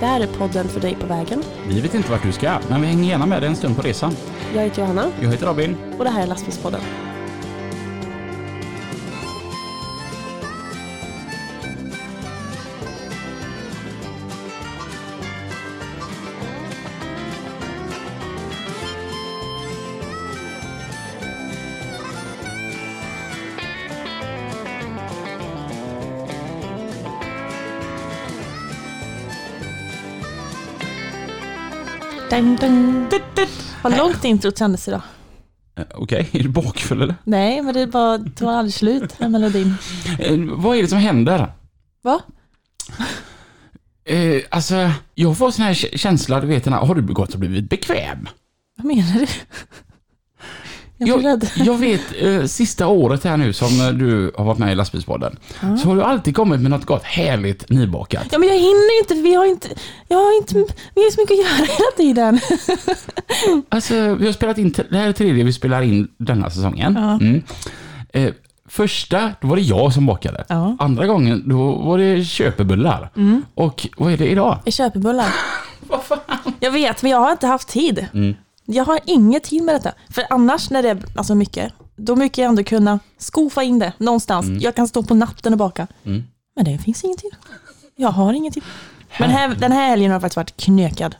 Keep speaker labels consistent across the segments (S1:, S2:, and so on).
S1: Det här är podden för dig på vägen.
S2: Vi vet inte vart du ska, men vi hänger gärna med dig en stund på resan.
S1: Jag heter Johanna
S2: Jag heter Robin.
S1: och det här är Lastbilspodden. Dun, dun, dun, dun. Vad långt introt kändes idag.
S2: Eh, Okej, är du bakfull eller?
S1: Nej, men det bara tog aldrig slut, den här melodin.
S2: Eh, vad är det som händer?
S1: Va?
S2: Eh, alltså, jag får sån här k- känsla, du vet den här, har du gått och blivit bekväm?
S1: Vad menar du? Jag blir
S2: Jag,
S1: rädd.
S2: jag vet, eh, sista året här nu som eh, du har varit med i lastbilspodden, så har du alltid kommit med något gott, härligt nybakat.
S1: Ja, men jag hinner inte, för vi har inte, jag har inte, vi har så mycket att göra hela tiden.
S2: Alltså, vi har spelat in, det här är tredje vi spelar in denna säsongen.
S1: Ja.
S2: Mm. Eh, första, då var det jag som bakade.
S1: Ja. Mm.
S2: Andra gången, då var det köpebullar. Och vad är det idag?
S1: Jag köper bullar. Jag vet, men jag har inte haft tid. Jag har ingen tid med detta. För annars när det är alltså mycket, då brukar jag ändå kunna skofa in det någonstans. Jag kan stå på natten och baka. Men det finns ingen tid. Jag har ingen tid. Men här, den här helgen har faktiskt varit knökad.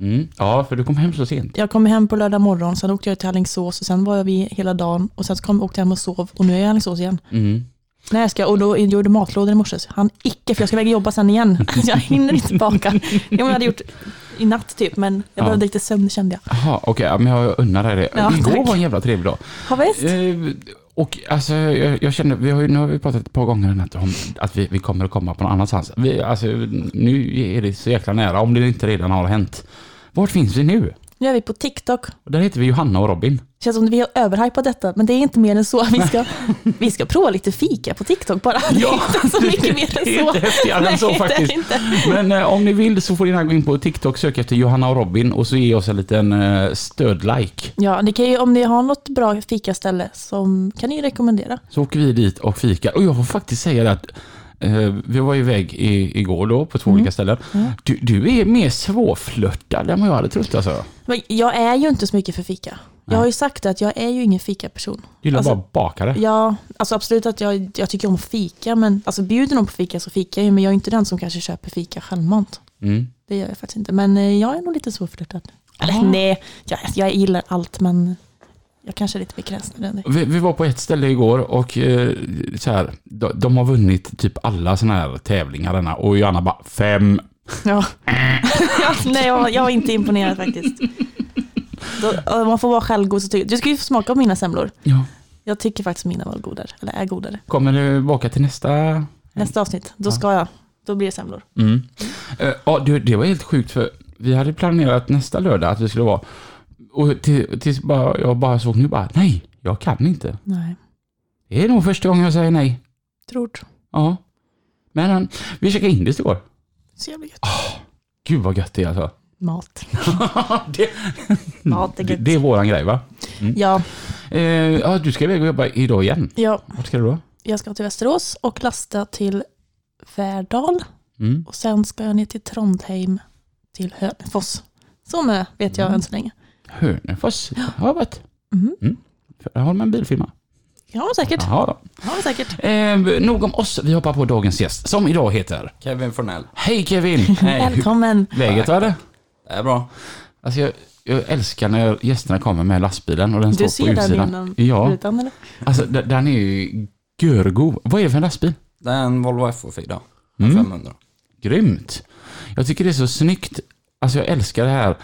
S2: Mm. Ja, för du kom hem så sent.
S1: Jag kom hem på lördag morgon, sen åkte jag till Alingsås och sen var vi hela dagen och sen så kom, åkte jag hem och sov och nu är jag i Alingsås igen.
S2: Mm.
S1: Nej, jag ska, och då gjorde matlådor i morse. Han icke, för jag ska iväg och jobba sen igen. Alltså, Jag hinner inte baka. Jag hade gjort i natt typ, men jag
S2: Ja.
S1: behövde lite sömn kände jag.
S2: Jaha, okej, ja, men jag unnar dig det.
S1: Ja,
S2: Igår
S1: tack.
S2: var en jävla trevlig dag.
S1: Ja, visst.
S2: Eh, och alltså, jag, jag känner, vi har ju, nu har vi pratat ett par gånger om att- om att vi, vi kommer att komma på någon annanstans. Vi, alltså, nu är det så jäkla nära, om det inte redan har hänt. Vart finns vi nu?
S1: Nu är vi på TikTok.
S2: Och Där heter vi Johanna och Robin.
S1: Det känns som att vi har överhypat detta, men det är inte mer än så. Vi ska, vi ska prova lite fika på TikTok bara. Det är
S2: Ja,
S1: inte så mycket mer
S2: Det är
S1: än så.
S2: inte häftigare än så
S1: Nej, det är
S2: faktiskt.
S1: inte.
S2: Men eh, om ni vill så får ni gärna gå in på TikTok, sök efter Johanna och Robin och så ge oss en liten eh, stödlike.
S1: Ja, ni kan ju, om ni har något bra fikaställe som kan ni rekommendera.
S2: Så åker vi dit och fikar. Och jag får faktiskt säga det att eh, vi var iväg i, igår då på
S1: Mm.
S2: två olika ställen. Du, du är mer svårflörtad än vad jag hade trott alltså.
S1: Men jag är ju inte så mycket för fika. Jag har ju sagt det, att jag är ju ingen fikaperson.
S2: Du gillar
S1: Alltså-
S2: bara bakare.
S1: Ja, alltså absolut att jag, jag tycker om att fika, men alltså bjuder någon på fika så fikar jag ju, men jag är inte den som kanske köper fika självmant.
S2: Mm.
S1: Det gör jag faktiskt inte, men eh, jag är nog lite svårflörtad. Eller
S2: Ah.
S1: nej, jag, jag gillar allt, men jag kanske är lite begränsad än dig.
S2: Vi, vi var på ett ställe igår och eh, så här, de, de har vunnit typ alla såna här tävlingar denna och Johanna bara fem.
S1: Ja. ja, nej, jag, jag var inte imponerad faktiskt. Då, om man får vara självgod så tycker Du ska ju få smaka på mina semlor.
S2: Ja.
S1: Jag tycker faktiskt mina var godare, eller är godare.
S2: Kommer du baka till nästa
S1: Nästa avsnitt, då ska jag. Då blir det semlor.
S2: Mm. Eh, Ja, det, det var helt sjukt för vi hade planerat nästa lördag att vi skulle vara och till- tills bara, jag bara såg nu bara, nej, jag kan inte.
S1: Nej,
S2: Det är nog första gången jag säger nej.
S1: tror du.
S2: Ja. Men han, vi käkade indiskt igår.
S1: Så jävla gött.
S2: Gud vad gött det är alltså.
S1: Mat.
S2: det,
S1: Mat är
S2: det,
S1: gött.
S2: det är våran grej va?
S1: Ja,
S2: Eh, ja, du ska iväg och jobba idag igen.
S1: ja,
S2: Vart ska du då?
S1: jag ska till Västerås och lasta till Värdal.
S2: Mm.
S1: Och sen ska jag ner till Trondheim till Hönefors. Så med vet
S2: Mm.
S1: jag än så länge.
S2: Hörnefors. Ja, vet.
S1: Mhm.
S2: Mm. Där har de en bilfirma.
S1: Ja, säkert.
S2: Jaha då.
S1: Ja, säkert.
S2: Eh, nog om oss, vi hoppar på dagens gäst som idag heter...
S3: Kevin Fornell.
S2: Hej Kevin! Hej.
S1: Välkommen.
S2: Läget eller?
S3: Det är bra.
S2: Alltså jag, jag älskar när gästerna kommer med lastbilen och den
S1: Du
S2: står på
S1: ser den
S2: utsidan.
S1: innan Typ.
S2: Ja,
S1: rutan eller?
S2: alltså d- den är ju görgo. Vad är det för en lastbil?
S3: Det är en Volvo FH4. En
S2: Mm.
S3: 500.
S2: Grymt! Jag tycker det är så snyggt. Alltså jag älskar det här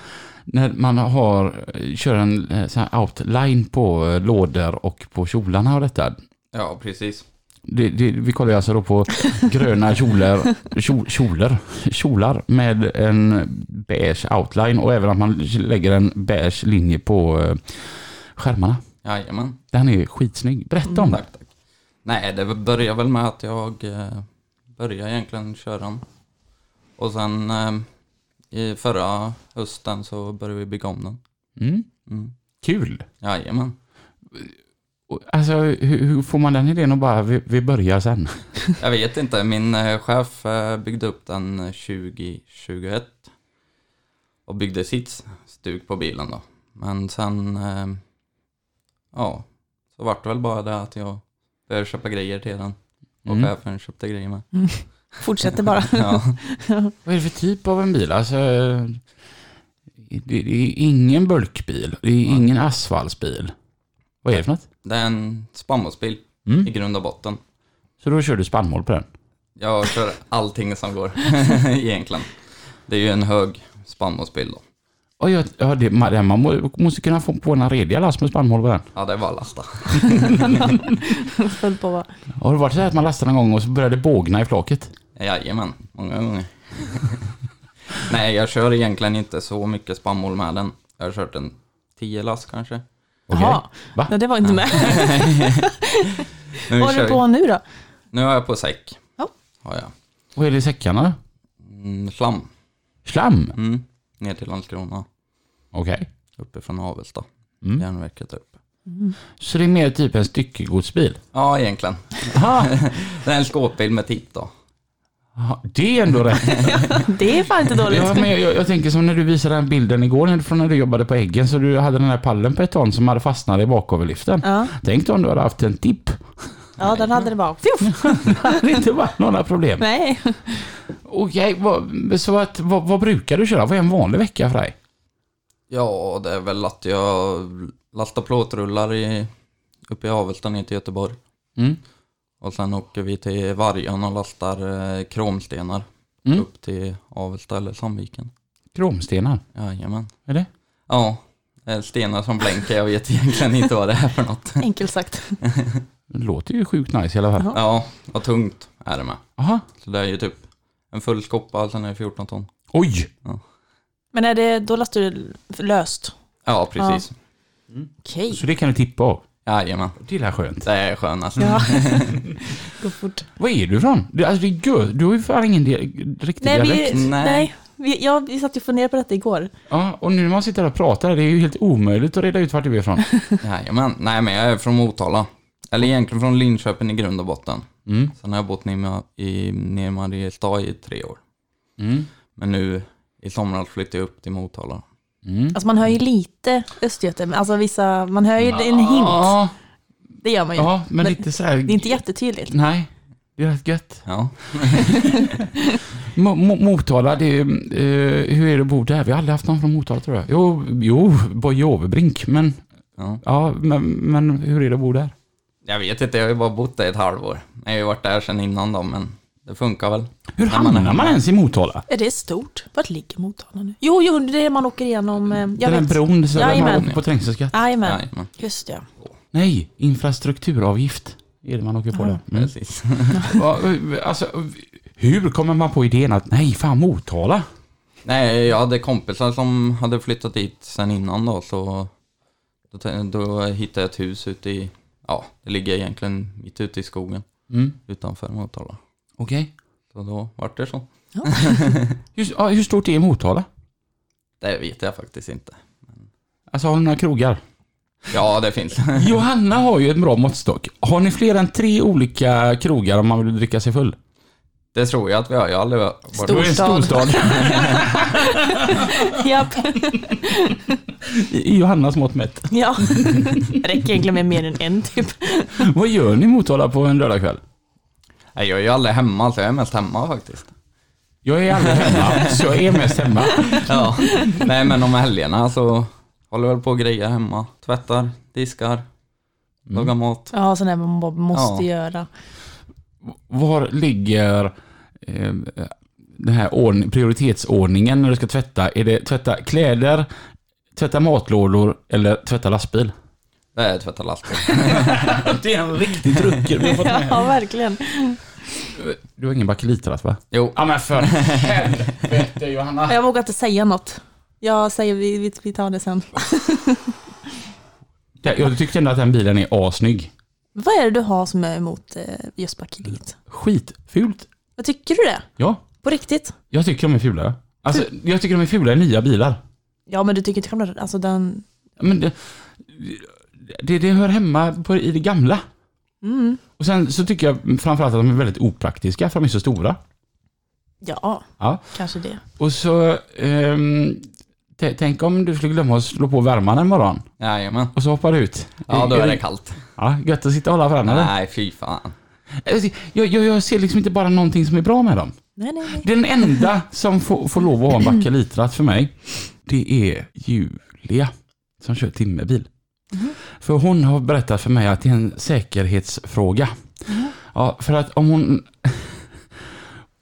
S2: när man har, kör en eh, sån här outline på eh, lådor och på kjolarna och detta.
S3: Ja, precis.
S2: Det, det, vi kollar ju alltså då på gröna kjolar, kjol, kjolar, kjolar med en beige outline och även att man lägger en beige linje på eh, skärmarna.
S3: Jajamän.
S2: Den är skitsnygg. Berätta om det.
S3: Tack, tack. Nej, det började väl med att jag eh, började egentligen köra den. Och sen eh, i förra hösten så började vi bygga om den.
S2: Mm.
S3: Mm.
S2: Kul.
S3: Jajamän.
S2: Och, Alltså hur, hur får man den idén och bara vi, vi börjar sen?
S3: Jag vet inte, min eh, chef eh, byggde upp den 2021 och byggde sitt stug på bilen då. Men sen, eh, ja, så vart det väl bara det att jag började köpa grejer till den och
S2: Mm.
S3: chefen köpte grejer med.
S1: Fortsätter bara.
S3: Ja.
S2: Vad är det för typ av en bil? Alltså, eh, det, det är ingen bulkbil, det är ingen asfaltsbil. Vad är det för något?
S3: Det är en spannmålsbil i
S2: Mm.
S3: grund och botten.
S2: Så då kör du spannmål på den?
S3: Jag kör allting som går egentligen. Det är ju en hög spannmålsbil då.
S2: Och jag, ja, det, man, den- man må- måste kunna få på en rediga last med spannmål på den.
S3: Ja, det är bara att lasta.
S1: Föll på vad.
S2: Har det varit så här att man lastar någon gång och så börjar det bågna i flaket?
S3: Jajamän, många gånger. Nej, jag kör egentligen inte så mycket spannmål med den. Jag har kört en 10 lass kanske.
S1: Jaha,
S2: Va?
S1: Nej, det var inte med.
S3: Men vi
S1: Vad har
S3: kör-
S1: du på nu då?
S3: Nu har jag på säck.
S1: Ja.
S3: Har jag.
S2: Vad är det i säckarna då?
S3: Mm, slam.
S2: Slam?
S3: Mm. Ner till Landskrona.
S2: Okej.
S3: Uppifrån Avesta.
S2: Mm.
S3: Järnverket upp.
S2: Så det är mer typ en styckegodsbil?
S3: Ja, egentligen.
S2: Jaha,
S3: Det är en skåpbil med tipp då.
S2: det är ändå rätt.
S1: Det är fan inte dåligt.
S2: Ja, men jag, jag, jag tänker som när du visade den bilden igår när, från när du jobbade på Äggen så du hade den här pallen på ett ton som hade fastnat i bakoverliften.
S1: Ja,
S2: Tänk om du hade haft en tipp.
S1: ja den hade det bara. Fjuff!
S2: Det hade inte varit några problem.
S1: Nej.
S2: Okej, vad, så att, vad, vad brukar du köra? Vad är en vanlig vecka för dig?
S3: Ja, det är väl att jag lastar plåtrullar i, uppe i Avesta ner till Göteborg.
S2: Mm.
S3: Och sen åker vi till Vargön och lastar eh, kromstenar
S2: Mm.
S3: upp till Avesta eller Sandviken.
S2: Kromstenar,
S3: Jajamän.
S2: är det?
S3: Ja, det är stenar som blänker. Jag vet egentligen inte vad det är för något.
S1: Enkelt sagt.
S2: Det låter ju sjukt nice i alla fall.
S1: Ja.
S3: Ja, och tungt är det med.
S2: Aha.
S3: Så det är ju typ en full skopa, sen är det 14 ton.
S2: Oj!
S1: Men är det, då lastar du löst?
S3: Ja, precis.
S1: Okej.
S2: Så det kan du tippa av.
S3: Jajamän.
S2: Det är väl skönt.
S3: Det är skönast.
S1: Ja.
S2: Mm.
S1: Gå fort.
S2: Var är du ifrån? Du, alltså, det är gud. du har ju fan ingen di- riktig
S1: Nej,
S2: dialekt.
S1: vi,
S3: Nej.
S1: nej. Vi, jag, vi satt ju och funderade på detta igår.
S2: Ja, och nu när man sitter här och pratar, det är ju helt omöjligt att reda ut vart du är ifrån.
S3: Jajamän. Nej, men jag är från Motala. Eller egentligen från Linköping i grund och botten.
S2: Mm.
S3: Sen har jag bott nere i, nere i Mariestad i tre år.
S2: Mm.
S3: Men nu i somras flyttade jag upp till Motala.
S2: Mm.
S1: Alltså man hör ju lite Östergöte, men alltså vissa, man hör ju en hint.
S2: Ja,
S1: Det gör man ju.
S2: ja men,
S1: Men
S2: lite så här...
S1: Det är inte jättetydligt.
S2: Nej, det är rätt gött.
S3: Ja.
S2: Mo- Mo- Motala, det är, eh, hur är det att bo där? Vi har aldrig haft någon från Motala tror jag. Jo, jo Boje Overbrink, men,
S3: ja.
S2: ja, men, men hur är det att bo där?
S3: Jag vet inte, jag har ju bara bott där ett halvår. Jag har ju varit där sedan innan då, men det funkar väl.
S2: Hur
S3: När man är
S2: hamnar man
S3: hemma.
S2: ens i Motala?
S1: Är det stort? Vart ligger Motala nu? Jo, jo, det är man åker igenom. eh, Jag
S2: den
S1: vet.
S2: där bron så där man
S1: Jajamän.
S2: åker på trängselskatt?
S1: Jajamän.
S3: Jajamän,
S1: Just ja.
S2: Nej, infrastrukturavgift är det man åker på där. Mm.
S3: precis.
S2: Ja, Alltså, hur kommer man på idén att nej, fan Motala?
S3: Nej, jag hade kompisar som hade flyttat dit sen innan då, så då, tän- då hittade jag ett hus ute i, ja, det ligger egentligen mitt ute i skogen
S2: Mm,
S3: utanför Motala.
S2: Okej.
S3: Så då vart det så.
S2: Just, ja, hur stort är Motala?
S3: Det vet jag faktiskt inte.
S2: Alltså har ni några krogar?
S3: Ja, det finns.
S2: Johanna har ju en bra måttstock. Har ni fler än tre olika krogar om man vill dricka sig full?
S3: Det tror jag att vi har. Jag har aldrig varit
S2: Då är det en
S1: Storstad.
S2: storstad.
S1: Japp.
S2: I Johannas mått mätt.
S1: Ja. Räcker egentligen med mer än en typ.
S2: Vad gör ni i Motala på en lördagkväll?
S3: Nej, jag är ju aldrig hemma, så jag är mest hemma faktiskt.
S2: Jag är aldrig hemma, så jag är mest hemma.
S3: Ja. Nej, men om helgerna så håller jag väl på och grejer hemma. Tvättar, diskar, lagar mat.
S1: Ja, sån där man bara måste
S3: Ja.
S1: göra.
S2: Var ligger eh, den här ordning, prioritetsordningen när du ska tvätta? Är det tvätta kläder, tvätta matlådor eller tvätta lastbil?
S3: Det är tvätta lastbil.
S2: Det är en riktig drucker vi har fått med.
S1: Ja, verkligen.
S2: Du har ingen bakelitratt va?
S3: Jo,
S2: Ja men för helvete Johanna.
S1: Jag vågar inte säga något. Jag säger, vi, vi, vi tar det sen.
S2: Ja, Jag tyckte ändå att den bilen är assnygg.
S1: Vad är det du har som är emot eh, just bakelit?
S2: Skitfult.
S1: Vad tycker du det?
S2: Ja,
S1: På riktigt?
S2: jag tycker de är fula. Alltså, jag tycker de är fula i nya bilar.
S1: Ja, men du tycker inte själv alltså den...
S2: Men det, det, det hör hemma på, i det gamla.
S1: mm.
S2: Och sen så tycker jag framförallt att de är väldigt opraktiska för de är så stora.
S1: Ja,
S2: Ja.
S1: kanske det.
S2: Och så, ehm, t- tänk om du skulle glömma att slå på värmaren en morgon
S3: Jajamän.
S2: och så hoppar du ut.
S3: Ja, då är det kallt.
S2: Ja, gött att sitta och hålla för varandra.
S3: Nej, fy fan.
S2: Jag, jag, jag ser liksom inte bara någonting som är bra med dem.
S1: Nej, nej, nej.
S2: Den enda som får, får lov att ha en
S1: Mm.
S2: bakelitratt för mig, det är Julia som kör timmerbil.
S1: Mm-hmm.
S2: För hon har berättat för mig att det är en säkerhetsfråga.
S1: Mm-hmm.
S2: Ja, för att om hon...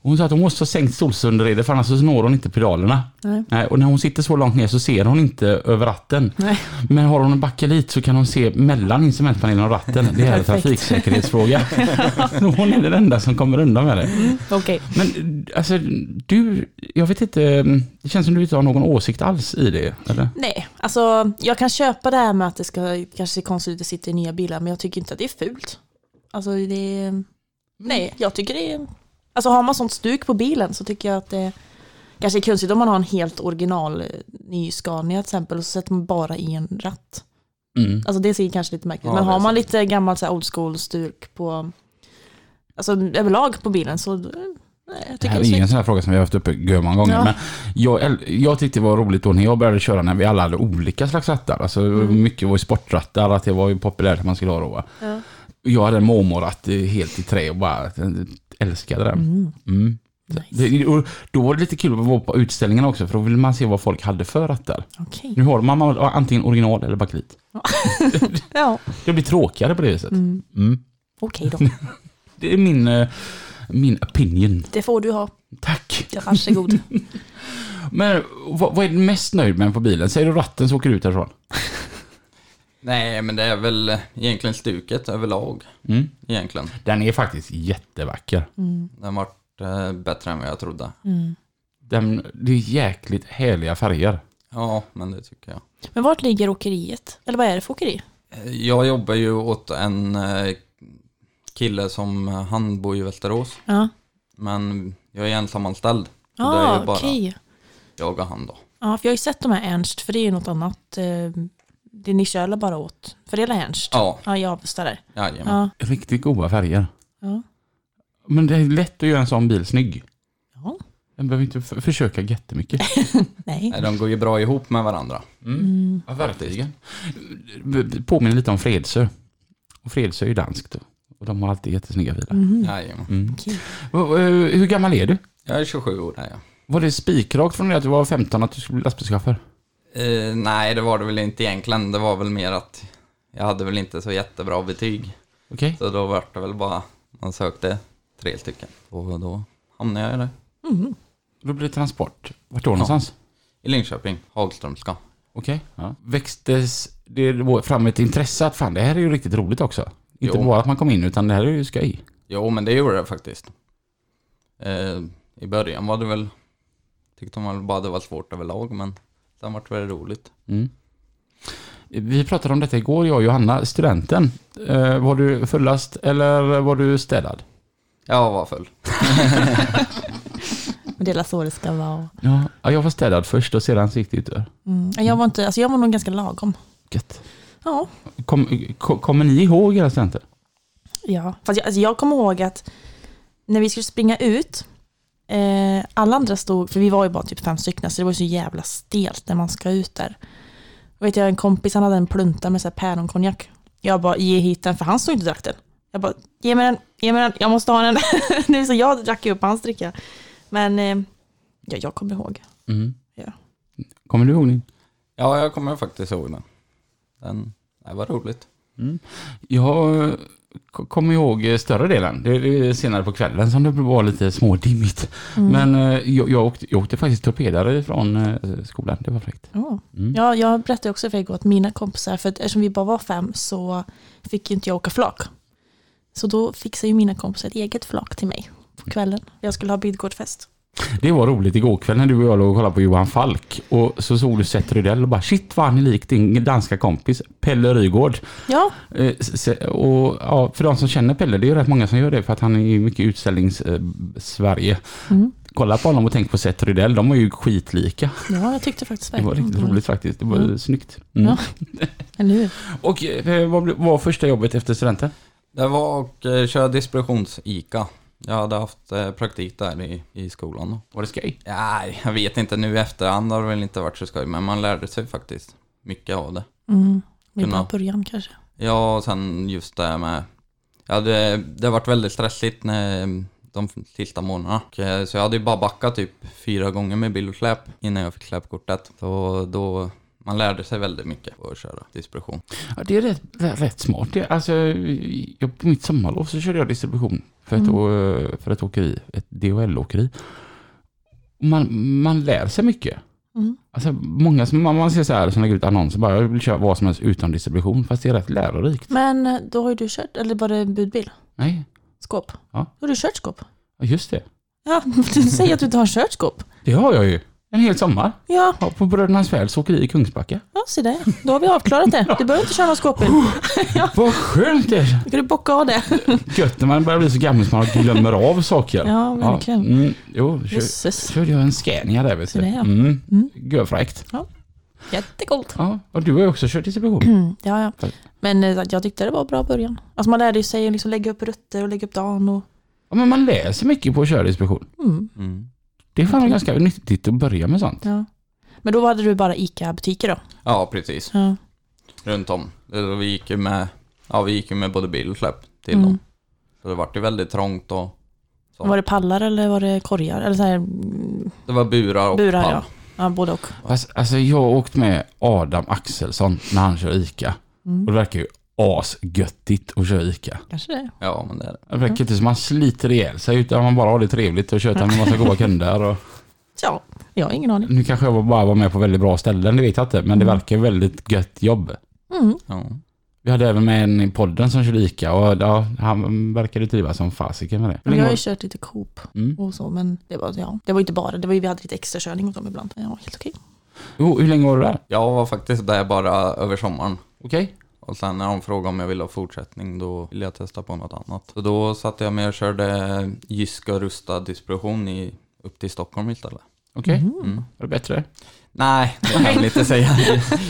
S2: Hon sa att hon måste ha sänkt solsunderredet för annars så når hon inte pedalerna.
S1: Nej.
S2: Nej, och när hon sitter så långt ner så ser hon inte över ratten.
S1: Nej.
S2: Men har hon en bakelit så kan hon se mellan instrumentpanelen och ratten. Det är en
S1: Perfekt.
S2: trafiksäkerhetsfråga. hon är den enda som kommer undan med det.
S1: Okej.
S2: Men alltså, du, jag vet inte, mm, det känns som du inte har någon åsikt alls i det, eller?
S1: Nej, alltså jag kan köpa det här med att det ska kanske se konstigt ut att sitta i nya bilar, men jag tycker inte att det är fult. Alltså det är... Nej, jag tycker det är... Alltså har man sånt stuk på bilen så tycker jag att det kanske är konstigt om man har en helt original eh, ny Scania till exempel och så sätter man bara i en ratt.
S2: Mm.
S1: Alltså det ser kanske lite märkligt ut,
S3: Ja,
S1: men
S3: det
S1: har
S3: är
S1: man
S3: sant.
S1: lite gammalt så här old school stuk på... Alltså överlag på bilen så... eh, Nej, jag
S2: Det
S1: tycker
S2: här
S1: det är
S2: är ingen
S1: snyggt.
S2: sån här fråga som vi har haft uppe gömman gånger,
S1: Ja.
S2: men jag, äl- jag tyckte det var roligt då när jag började köra när vi alla hade olika slags rattar. Alltså, Mycket var ju sportrattar, att det var ju populärt att man skulle ha då. va?
S1: Mm. Ja.
S2: Jag hade en mormorratt eh, helt i trä och bara eh, älskade den.
S1: Mm.
S2: Mm.
S1: Nice.
S2: Det, och då var det lite kul att vara på utställningarna också, för då ville man se vad folk hade för rattar.
S1: Okej.
S2: Nu har man man har antingen original eller bakelit.
S1: Ja,
S2: Det blir tråkigare på det viset.
S1: Mm.
S2: Mm.
S1: okej då.
S2: Det är min, eh, min opinion.
S1: Det får du ha.
S2: Tack.
S1: Ja, Varsågod.
S2: Men vad, vad är du mest nöjd med på bilen? Säger du ratten så åker du ut härifrån?
S3: Nej, men det är väl egentligen stuket överlag.
S2: Mm.
S3: Egentligen.
S2: Den är faktiskt jättevacker.
S3: Den har varit eh, bättre än vad jag trodde.
S2: Den, det är jäkligt härliga färger.
S3: Ja, men det tycker jag.
S1: Men vart ligger åkeriet? Eller vad är det för åkeri?
S3: Eh, Jag jobbar ju åt en eh, kille som, eh, han bor i Västerås.
S1: Ja,
S3: Men jag är ensamanställd. Så det är
S1: ah,
S3: ju bara
S1: okej.
S3: jag och han då.
S1: Ja, för jag har ju sett de här Ernst, för det är ju något annat. Eh, det ni körde bara åt. För det är Ernst?
S3: Ja,
S1: Ja, i Avesta där.
S3: jajamän.
S1: Ja.
S2: Riktigt goda färger.
S1: Ja.
S2: Men det är lätt att göra en sån bil snygg.
S1: ja.
S2: Den behöver inte f- försöka jättemycket.
S1: Nej.
S3: Nej, De går ju bra ihop med varandra.
S1: Mm.
S2: Ja, verkligen. Påminner lite om Fredsö. Och Fredsö är ju danskt. Och de har alltid jättesnygga bilar.
S1: Mhm.
S3: Jajamän.
S2: Mm.
S1: Okej.
S2: Och, eh, Hur gammal är du?
S3: Jag är 27 år är jag.
S2: Var det spikrakt från det att du var 15 att du skulle bli lastbilschaufför?
S3: Eh, nej, det var det väl inte egentligen. Det var väl mer att jag hade väl inte så jättebra betyg.
S2: Okej.
S3: Så då var det väl bara, man sökte tre stycken. Och då hamnade jag i det.
S1: Mhm.
S2: Då blir det transport. Vart då någonstans?
S3: I Linköping, Hagströmska.
S2: Okej. Växtes det då fram ett intresse att fan det här är ju riktigt roligt också? Inte
S3: Jo.
S2: bara att man kom in utan det här är ju skoj.
S3: Jo, men det gjorde det faktiskt. Eh, I början var det väl, tyckte man väl bara det var svårt överlag, men sen var det väl roligt.
S2: Mm. Vi pratade om detta igår, jag och Johanna, studenten. Eh, var du fullast eller var du städad?
S3: Jag var full.
S1: Men det är så det ska vara.
S2: Ja. ja, jag var städad först och sedan så gick det ut över.
S1: Mm. Jag, var inte, alltså jag var nog ganska lagom.
S2: Gött.
S1: Ja.
S2: Kom- ko- Kommer ni ihåg era studenter?
S1: ja. Fast jag, alltså jag kommer ihåg att när vi skulle springa ut, eh, alla andra stod, för vi var ju bara typ fem stycken, så det var ju så jävla stelt när man ska ut där. Och vet jag, en kompis han hade en plunta med så här päronkonjak. Jag bara, ge hit den, för han stod inte och drack den. Jag bara, ge mig den, ge mig den, jag måste ha den. nu så jag drack ju upp hans dricka. Men eh, ja, jag kommer ihåg.
S2: Mm.
S1: Ja.
S2: Kommer du ihåg ni?
S3: Ja, jag kommer faktiskt ihåg den. Den, det var roligt.
S2: Jag eh, k- kommer ihåg eh, större delen. Det är senare på kvällen som det var lite smådimmigt.
S1: Mm.
S2: Men eh, jag, jag, åkte, jag åkte faktiskt torpedare från eh, skolan. Det var fräckt.
S1: Ja.
S2: Mm.
S1: Ja, jag berättade också för er igår att mina kompisar, för att eftersom vi bara var fem så fick ju inte jag åka flak. Så då fixade ju mina kompisar ett eget flak till mig på kvällen. Jag skulle ha bygdgårdsfest.
S2: Det var roligt igår kväll när du och jag låg och kollade på Johan Falk. Och så såg du Seth Rydell och bara shit vad han är lik din danska kompis Pelle Rygård.
S1: Ja,
S2: Eh, s- s- Och, ja, för de som känner Pelle, det är ju rätt många som gör det för att han är ju mycket utställnings-Sverige.
S1: Mm.
S2: Kolla på honom och tänk på Seth Rydell, de var ju skitlika.
S1: ja jag tyckte faktiskt
S2: Det var
S1: verkligen
S2: riktigt roligt faktiskt. Det var
S1: Mm.
S2: snyggt. Mm.
S1: Ja. Eller hur?
S2: Och eh, vad blev- vad var första jobbet efter studenten?
S3: Det var att eh, köra distributions-ICA. Jag hade haft eh, praktik där i, i skolan. Då.
S2: Var det skoj?
S3: Nej, jag vet inte. Nu i efterhand har det väl inte varit så skoj, men man lärde sig faktiskt mycket av det.
S1: Mm. Det är
S3: Kunna.
S1: bara början kanske.
S3: Ja, och sen just det här med... Ja, det, det har varit väldigt stressigt när, eh, de sista månaderna. Och, eh, Så jag hade ju bara backat typ fyra gånger med bil och släp innan jag fick släpkortet. Så då... Man lärde sig väldigt mycket på att köra distribution.
S2: Ja, det är rätt, rätt, rätt smart. Det, alltså, jag, på mitt sommarlov så körde jag distribution för ett,
S1: Mm.
S2: å- för ett åkeri, ett DHL-åkeri. Man, man lär sig mycket.
S1: Mm.
S2: Alltså, många som man, man ser så här som lägger ut annonser bara, jag vill köra vad som helst utan distribution, fast det är rätt lärorikt.
S1: Men eh, då har ju du kört, eller var det budbil?
S2: Nej,
S1: Skåp?
S2: Ja.
S1: Har du kört skåp?
S2: ja, just det.
S1: Ja, du säger att du inte har kört skåp.
S2: Det har jag ju. En hel sommar.
S1: Ja,
S2: Ja, på Brödernas Väls åkeri i Kungsbacka.
S1: ja se där. Då har vi avklarat det. Du behöver inte köra någon skåpbil.
S2: Vad skönt det är.
S1: Då kan du bocka av det.
S2: Gött när man börjar bli så gammal som man glömmer av saker.
S1: Ja, verkligen.
S2: mm, jo, kör,
S1: Jösses.
S2: körde jag en Scania där vet du.
S1: Så det, ja.
S2: Mm.
S1: Mm.
S2: Görfräckt.
S1: Jättegott.
S2: Ja, och du har ju också kört distribution.
S1: Mm, ja, ja.
S2: Tack.
S1: Men eh, jag tyckte det var bra början. Alltså man lärde ju sig att liksom lägga upp rutter och lägga upp dagen. Och,
S2: Ja, men man läser mycket på att köra distribution.
S1: mm,
S3: Mm.
S2: Det är fan ganska nyttigt att börja med sånt.
S1: ja. Men då hade du bara ICA-butiker då?
S3: Ja, precis.
S1: Ja.
S3: Runt om. Eh, Vi gick ju med, ja, vi gick ju med både bil och släp till
S1: Mm.
S3: dem. Så det vart ju väldigt trångt och Ja.
S1: Var det pallar eller var det korgar? Eller så här, mm,
S3: det var burar och
S1: burar
S3: pall.
S1: ja. ja. Både och.
S2: Fast, alltså jag har åkt med Adam Axelsson när han kör ICA.
S1: Mm.
S2: Och det verkar ju asgöttigt att köra ICA.
S1: Kanske det.
S3: Ja, men det är det.
S2: Det
S1: Mm.
S2: verkar inte som man sliter ihjäl sig utan man bara har det trevligt och tjötar med en massa goda kunder. Och...
S1: Ja, jag har ingen aning.
S2: Nu kanske jag bara var med på väldigt bra ställen, det vet jag inte. Men det verkar väldigt gött jobb.
S1: Mm.
S3: Ja.
S2: Vi hade även med en i podden som körde ICA och ja, han verkade trivas som fasiken med det.
S1: Men jag har ju kört lite Coop
S2: Mm.
S1: och så, men det var, ja, det var ju inte bara, det var ju, vi hade lite extra körning och dem ibland. Ja, helt okej.
S2: Jo, Oh, hur länge var du där?
S3: Jag var faktiskt där bara över sommaren.
S2: Okej.
S3: Och sen när de frågade om jag ville ha fortsättning då ville jag testa på något annat. Så då satte jag mig och körde Jyska Rusta distribution i, upp till Stockholm istället.
S2: Okej.
S1: Mhm.
S3: Mm.
S2: Var det bättre?
S3: Nej, det kan jag väl inte säga.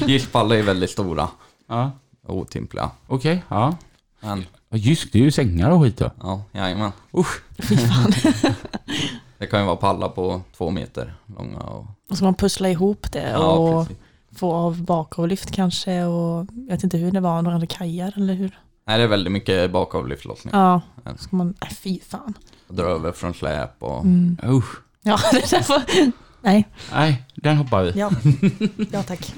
S3: Gyspallar är väldigt stora
S2: Ja.
S3: och otympliga.
S2: Okej, ja.
S3: Men
S2: Ja, Just det, det är ju sängar och skit då.
S3: ja, jajamän.
S2: Usch.
S3: Det kan ju vara pallar på två meter långa och...
S1: Och så man pussla ihop det
S3: Ja,
S1: och
S3: precis.
S1: få av bakavlyft kanske och jag vet inte hur det var, några andra kajar eller hur?
S3: Nej, det är väldigt mycket bakavlyftlossning.
S1: Ja,
S3: Mm.
S1: ska man, nej fy fan.
S3: Dra över från släp och...
S1: Mm.
S2: Usch.
S1: Ja, det där var, nej,
S2: Nej, den hoppar vi.
S1: ja, ja tack.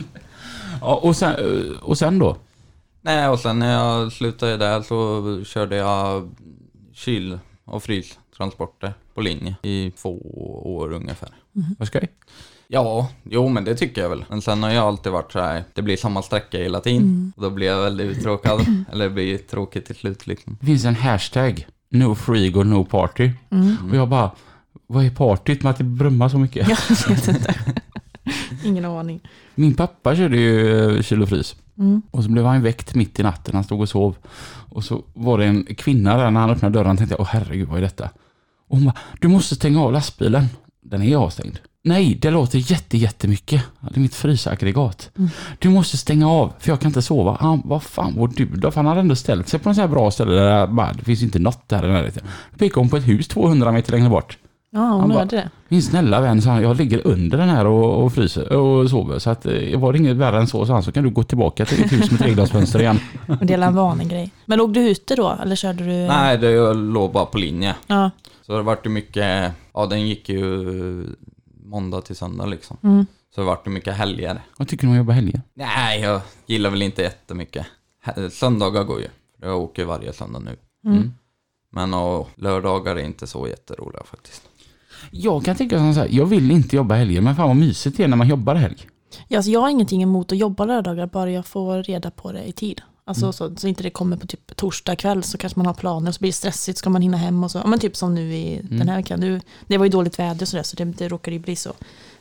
S2: Ja, och, sen, eh, och sen då?
S1: Mm.
S3: Nej, och sen när jag slutade där så körde jag kyl och frystransporter på linje i två år ungefär.
S2: Vad ska jag?
S3: Ja, jo men det tycker jag väl. Men sen har jag alltid varit så här, det blir samma sträcka hela tiden. Och då blir jag väldigt uttråkad. Eller det blir tråkigt till slut liksom.
S2: Det finns en hashtag, no freak och no party.
S1: Mm.
S2: Och jag bara, vad är partyt med att det brummar så mycket?
S1: Jag vet inte. Ingen aning.
S2: Min pappa körde ju eh, kyl och frys.
S1: Mm.
S2: Och så blev han väckt mitt i natten, han stod och sov. Och så var det en kvinna där när han öppnade dörren, tänkte jag, åh herregud vad är detta? Och hon bara, du måste stänga av lastbilen. Den är avstängd. Nej, det låter jätte, jättemycket. Ja, Det är mitt frysaggregat. Du måste stänga av, för jag kan inte sova. Han, vad fan var du då? För han hade ändå ställt sig på en sån här bra ställe där bara, det finns inte något där i närheten. Då pekade hon på ett hus 200 meter längre bort.
S1: Ja,
S2: Han
S1: hon
S2: bara-
S1: hörde det.
S2: Min snälla vän, sa han, jag ligger under den här och, och fryser och sover. Så att, eh, var det inget värre än så, sa han, så kan du gå tillbaka till ditt hus med treglasfönster igen.
S1: Och dela en vanegrej. Men låg du ute då, eller körde du?
S3: Nej, det låg bara på linje.
S1: Ja.
S3: Så det vart ju mycket, ja den gick ju måndag till söndag liksom.
S1: Mm.
S3: Så det vart ju mycket helger.
S2: Vad tycker du om att jobba helger?
S3: Nej, jag gillar väl inte jättemycket. He- Söndagar går ju. Jag åker ju varje söndag nu.
S1: Mm.
S3: Men och, lördagar är inte så jätteroliga faktiskt.
S2: Jag kan tänka så här, jag vill inte jobba helger, men fan vad mysigt det är när man jobbar helg.
S1: Ja, alltså jag har ingenting emot att jobba lördagar, bara jag får reda på det i tid. Alltså så, så inte det kommer på typ torsdag kväll så kanske man har planer och så blir det stressigt, ska man hinna hem och så. Ja, men typ som nu i den här veckan. Nu, det var ju dåligt väder och sådär så det, det råkade ju bli så.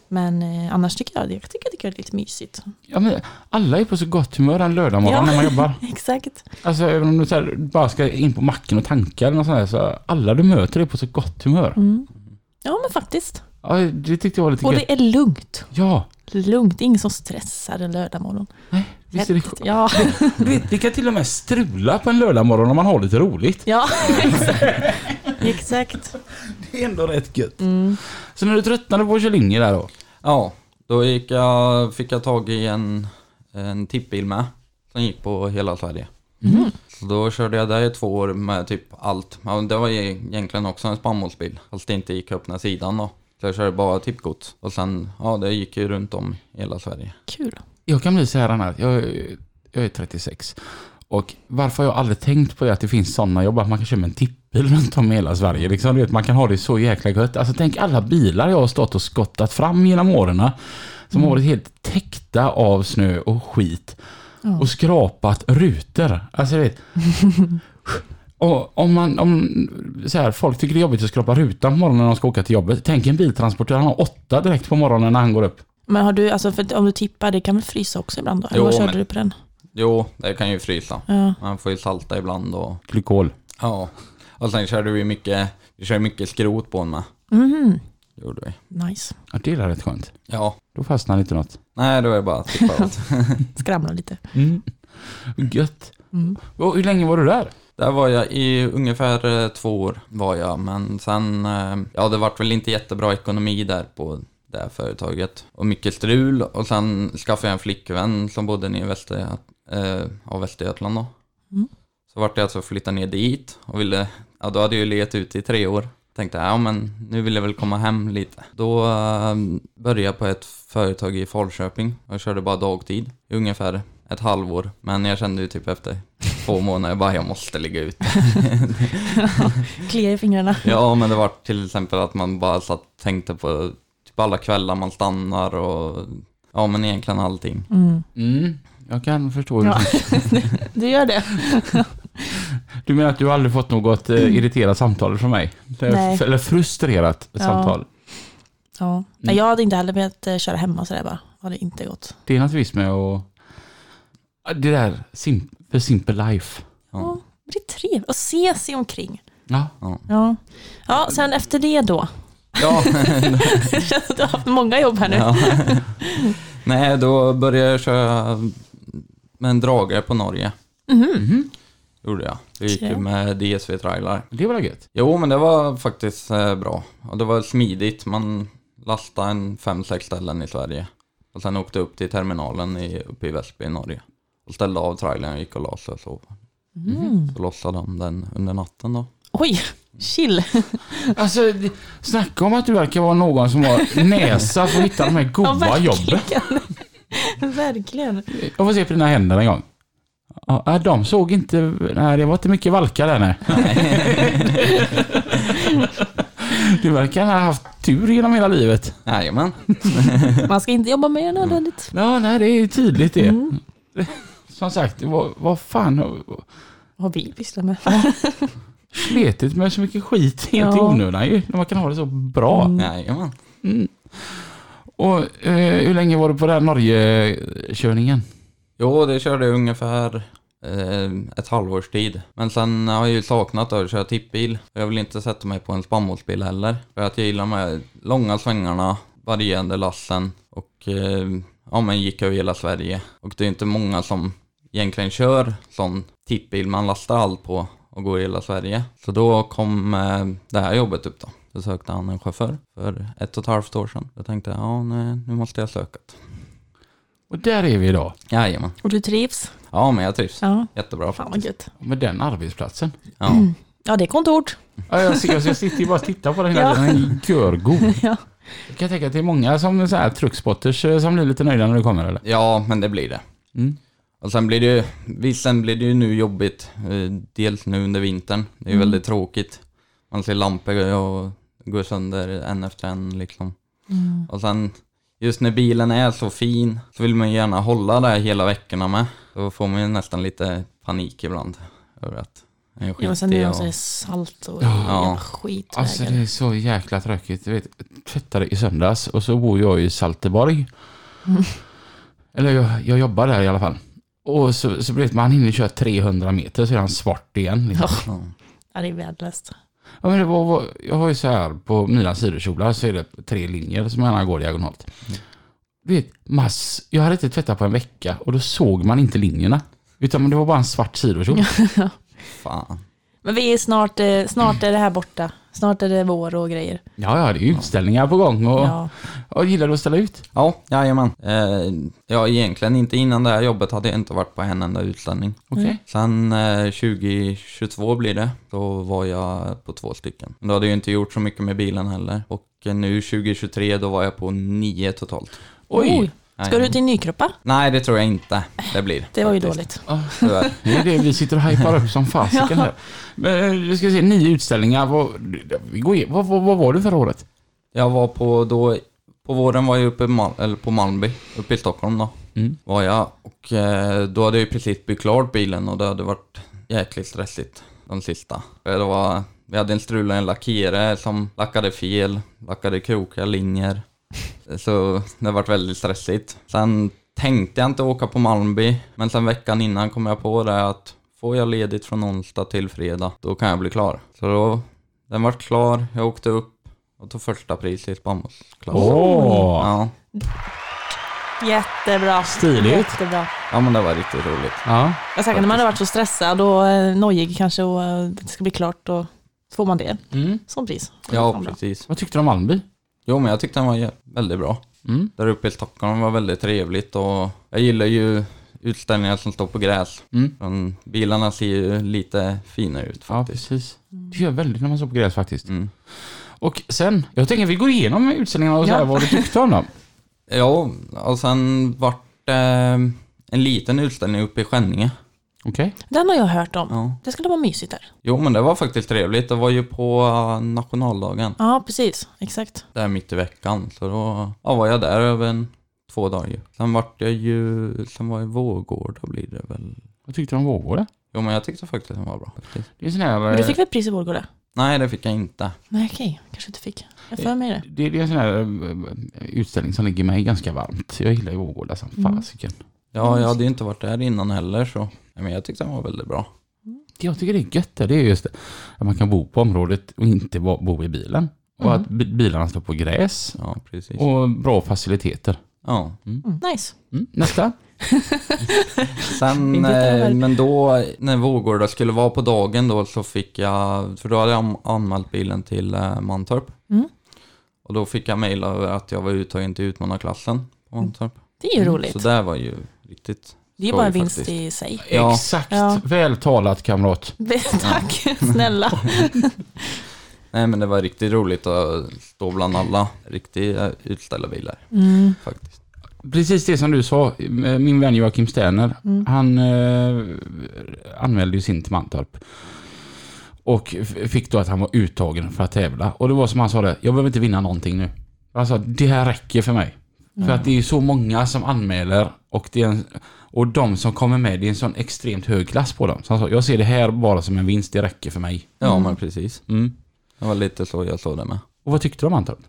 S1: Men eh, annars tycker jag, jag tycker, tycker det är lite mysigt.
S2: Ja, men alla är på så gott humör en lördagmorgon
S1: Ja.
S2: när man jobbar.
S1: Exakt.
S2: Alltså även om du så här, bara ska in på macken och tanka eller något sånt här, så alla du möter är på så gott humör.
S1: Ja men faktiskt.
S2: Ja, det tyckte jag var lite
S1: Och
S2: gött.
S1: det är lugnt.
S2: Ja,
S1: Lugnt, det är ingen som stressar en lördagmorgon.
S2: nej, Visst är det
S1: Helvete. Ja,
S2: Du vet, det kan till och med strula på en lördagmorgon om man har lite roligt.
S1: ja exakt. exakt. Mm.
S2: Det är ändå rätt gött. Så när du tröttnade på att köra linje där då?
S3: Ja, då gick jag, fick jag tag i en, en tippbil med. Som gick på hela Sverige. Så då körde jag där i två år med typ allt. Ja, det var e- egentligen också en spannmålsbil. Fast det inte gick att öppna sidan då. Så jag körde bara tippgods. Och sen, ja det gick ju runt om i hela Sverige.
S1: Kul.
S2: Jag kan bli så här Anna, jag, jag är 36. Och varför har jag aldrig tänkt på det att det finns sådana jobb, att man kan köra med en tippbil runt om i hela Sverige. Liksom, du vet, man kan ha det så jäkla gött. Alltså tänk alla bilar jag har stått och skottat fram genom åren. Som har varit helt täckta av snö och skit. Och skrapat rutor. Alltså du vet. Och om man, om, så här, folk tycker det är jobbigt att skrapa rutan på morgonen när de ska åka till jobbet. Tänk en biltransportör, han har åtta direkt på morgonen när han går upp.
S1: Men har du, alltså för om du tippar, det kan väl frysa också ibland då? Eller
S3: Jo,
S1: vad körde
S3: men-
S1: du på den?
S3: Jo, det kan ju frysa.
S1: Ja.
S3: Man får ju salta ibland och
S2: Glykol.
S3: ja. Och sen körde vi mycket, vi körde mycket skrot på den med.
S1: Mhm.
S3: Gjorde vi.
S1: Nice.
S2: Ja, det är rätt skönt.
S3: Ja.
S2: Då fastnar inte något.
S3: Nej, då är det bara att tippa allt.
S1: Skramlar lite.
S2: Mm. Gött.
S1: Mm.
S2: Och hur länge var du där?
S3: Där var jag i ungefär eh, två år var jag, men sen, eh, ja det vart väl inte jättebra ekonomi där på det här företaget. Och mycket strul och sen skaffade jag en flickvän som bodde nere i Västergöt eh, ja, Västergötland då.
S1: Mm.
S3: Så vart jag alltså flytta ner dit och ville, ja då hade jag ju legat ute i tre år. Tänkte ja men nu vill jag väl komma hem lite. Då eh, började jag på ett företag i Falköping och körde bara dagtid i ungefär ett halvår. Men jag kände ju typ efter två månader bara jag måste ligga ut.
S1: Kliar i fingrarna.
S3: Ja, men det var till exempel att man bara satt tänkte på typ alla kvällar man stannar och ja, men egentligen allting.
S1: Mm.
S2: Mm. Jag kan förstå. hur
S1: Ja.
S2: du-
S1: Du gör det?
S2: Du menar att du aldrig fått något eh, irriterat samtal från mig?
S1: Mm. Nej.
S2: Eller- Eller frustrerat
S1: Ja.
S2: samtal?
S1: Ja. Nej, jag hade inte heller velat eh, köra hemma sådär bara. Hade inte gått.
S2: Det är naturligtvis med att... Ja, Det där, sim, the simple life.
S1: Ja.
S3: Ja.
S1: Men Det är trevligt att se sig omkring.
S2: Ja.
S1: Ja. ja, sen efter det då?
S3: Ja,
S1: Det känns som att du har haft många jobb här nu.
S3: ja. Nej, då började jag köra med en dragare på Norge.
S2: Mhm.
S3: Gjorde jag. Jag gick ju
S1: Okej.
S3: med DSV-trailer.
S2: Det var gött.
S3: Jo, men det var faktiskt eh, bra. Och det var smidigt. Man lastade en fem, sex ställen i Sverige. Och sen åkte upp till terminalen i, uppe i Väsby i Norge. Och ställde av trailern och gick och la sig och sov.
S1: Mm.
S3: Så lossade de den under natten då.
S1: Oj, chill.
S2: Alltså, det- snacka om att du verkar vara någon som har näsa för att hitta de här goda jobben.
S1: verkligen.
S2: Jag får se på dina händer en gång. Ja, äh, de såg inte... Nej, det var inte mycket valkar där nej. Du verkar ha haft tur genom hela livet.
S3: Jajamän.
S1: Man ska inte jobba mer än nödvändigt.
S2: Ja, nej, det är tydligt det. Mm. Som sagt, vad, vad fan har-
S1: Vad har vi pysslat med?
S2: sletigt med så mycket skit helt i
S1: Ja.
S2: onödan ju, när man kan ha det så bra.
S3: Jajamän.
S2: Och eh, hur länge var du på den här Norge-körningen?
S3: Jo, det körde jag ungefär eh, ett halvårs tid. Men sen har jag ju saknat att köra tippbil. Jag vill inte sätta mig på en spannmålsbil heller. För att jag gillar de här långa svängarna, varierande lassen och eh, ja, men gick över hela Sverige. Och det är inte många som egentligen kör sån tippbil man lastar allt på och går i hela Sverige. Så då kom eh, det här jobbet upp då. Då sökte han en chaufför för ett och ett halvt år sedan. Jag tänkte, ja nej, nu måste jag söka.
S2: Och där är vi idag,
S3: Jajamän.
S1: Och du trivs?
S3: Ja, men jag trivs.
S1: Ja.
S3: Jättebra
S1: Fan vad Mm.
S3: faktiskt.
S1: gött.
S2: med den arbetsplatsen.
S3: Ja.
S1: Ja, det är kontort.
S2: Ja, jag, ser- alltså, jag sitter ju bara och tittar på den hela
S1: Ja.
S2: tiden, den är görgod.
S1: Ja.
S2: Jag kan tänka att det är många som så här, truckspotters eh, som blir lite nöjda när du kommer eller?
S3: ja, men det blir det.
S2: Mm.
S3: Och sen blir det ju, visst, sen blir det ju nu jobbigt, eh, dels nu under vintern, det är
S1: Mm.
S3: ju väldigt tråkigt. Man ser lampor och går sönder en efter en liksom. Och sen, just när bilen är så fin så vill man ju gärna hålla det här hela veckorna med. Då får man ju nästan lite panik ibland över att den är
S1: Ja, och sen är
S3: skitig.
S1: det
S3: Och,
S1: också salt och
S2: Ja.
S1: jävla skit i
S2: Alltså det
S1: vägen.
S2: är så jäkla tråkigt. Du vet, jag tvättade i söndags och så bor jag i Salteborg.
S1: Mm.
S2: Eller jag, jag jobbar där i alla fall. Och så, så vet man, han hinner köra 300 meter så är han svart igen. Liksom.
S3: ja.
S1: Ja, det är värdelöst.
S2: Ja, men det var, var, jag har ju så här, på mina sidokjolar så är det tre linjer som gärna går diagonalt. du vet, mass, jag hade inte tvättat på en vecka och då såg man inte linjerna. Utan det var bara en svart sidokjol.
S3: Fan.
S1: Men vi är snart, eh, snart är det här borta. Snart är det vår och grejer.
S2: Ja, ja, det är utställningar på gång och,
S1: Ja.
S2: och gillar du att ställa ut?
S3: Ja, jajamän. Eh, ja, egentligen inte innan det här jobbet hade jag inte varit på en enda utställning.
S2: Okej.
S3: Sen eh, 2022 blir det, då var jag på två stycken. Men Då hade jag ju inte gjort så mycket med bilen heller. Och eh, nu 2023, då var jag på nio totalt.
S2: Oj.
S1: Ska du till Nykroppa?
S3: Nej, det tror jag inte det blir.
S1: Det var ju
S3: faktiskt.
S1: dåligt.
S3: Tyvärr.
S2: Det är det vi sitter och hypar upp som fasiken här. Men vi ska se, nio utställningar. Vad, vi går igen- vad, vad, vad var du förra året?
S3: Jag var på då, på våren var jag uppe i Mal- eller på Malmby, uppe i Stockholm då.
S2: Mm.
S3: Var jag och eh, då hade jag ju precis byggt klart bilen och det hade varit jäkligt stressigt de sista. För Det var, vi hade en strulen lackerare som lackade fel, lackade krokiga linjer. Så det varit väldigt stressigt. Sen tänkte jag inte åka på Malmby, men sen veckan innan kom jag på det att får jag ledigt från onsdag till fredag, då kan jag bli klar. Så då, den vart klar, jag åkte upp och tog första pris i Spannmålsklassen.
S2: Åh!
S3: Ja.
S1: Jättebra.
S2: Stiligt.
S1: Jättebra.
S3: ja, men det var riktigt roligt.
S2: Ja.
S1: Jag säkert när man har varit så stressad och eh, nojig kanske och eh, det ska bli klart och så får man det
S2: Mm.
S1: som pris. Det är
S3: Ja,
S1: fan bra.
S3: precis.
S2: Vad tyckte du om Malmby?
S3: Jo, men jag tyckte den var jä- väldigt bra.
S2: Mm.
S3: Där uppe i Stockholm var väldigt trevligt och jag gillar ju utställningar som står på gräs.
S2: Mm.
S3: Men bilarna ser ju lite fina ut
S2: Ja,
S3: faktiskt.
S2: precis. Det gör väldigt när man står på gräs faktiskt.
S3: Mm.
S2: Och sen, jag tänker vi går igenom utställningarna och så
S1: Ja.
S2: här, vad du tyckte om dem.
S3: Ja, och sen vart det eh, en liten utställning uppe i Skänninge.
S2: Okej.
S1: Den har jag hört om.
S3: Ja.
S1: Det skulle vara mysigt där.
S3: Jo, men det var faktiskt trevligt. Det var ju på eh, nationaldagen,
S1: Ja, precis. Exakt.
S3: där mitt i veckan. Så då ja, var jag där över en, två dagar. ju. Sen vart jag ju, sen var jag i Vårgårda blir det väl.
S2: Vad tyckte du om Vårgårda?
S3: Jo, men jag tyckte faktiskt den var bra. Faktiskt.
S2: Det är sån här...
S1: Men du
S2: eh,
S1: fick väl pris i Vårgårda?
S3: Nej, det fick jag inte.
S1: Nej, okej. Kanske inte fick. Jag för mig det.
S2: Det, det är en sån här eh, utställning som ligger mig ganska varmt. Jag gillar ju Vårgårda som
S1: Mm.
S2: fasiken.
S3: Ja, jag hade ju inte varit där innan heller så. Nej, Men jag tyckte den var väldigt bra.
S2: Det jag tycker det är gött där, det är just det. Att man kan bo på området och inte bo, bo i bilen. Och
S1: Mm.
S2: att bi- bilarna står på gräs.
S3: Ja, precis.
S2: Och bra faciliteter.
S3: Ja.
S1: Nice.
S2: Mm. Nästa.
S3: Sen,
S1: Inte
S3: eh,
S1: heller.
S3: men då när Vårgårda skulle vara på dagen då så fick jag, för då hade jag an- anmält bilen till eh, Mantorp.
S1: Mm.
S3: Och då fick jag mejl över att jag var uttagen till utmanarklassen på Mantorp.
S1: Mm. Det är ju
S3: Mm, Så
S1: roligt.
S3: det var ju riktigt.
S1: Det är ju
S3: skoj
S1: bara en vinst
S3: faktiskt.
S1: i sig.
S3: Ja.
S2: Exakt.
S1: Ja.
S2: Väl talat kamrat.
S1: Tack, snälla.
S3: Nej men det var riktigt roligt att stå bland alla riktiga utställarbilar
S1: Mm.
S3: faktiskt.
S2: Precis det som du sa, eh, min vän Joakim Sterner, han eh, anmälde ju sin till Mantorp. Och f- fick då att han var uttagen för att tävla. Och det var som han sa det, jag behöver inte vinna någonting nu. Han sa, det här räcker för mig. För att det är så många som anmäler och, det är en, och de som kommer med, det är en sån extremt hög klass på dem. Så han sa, jag ser det här bara som en vinst, det räcker för mig.
S3: Ja men precis.
S2: Mm.
S3: Det var lite så jag såg det med.
S2: Och vad tyckte du om Mantorp?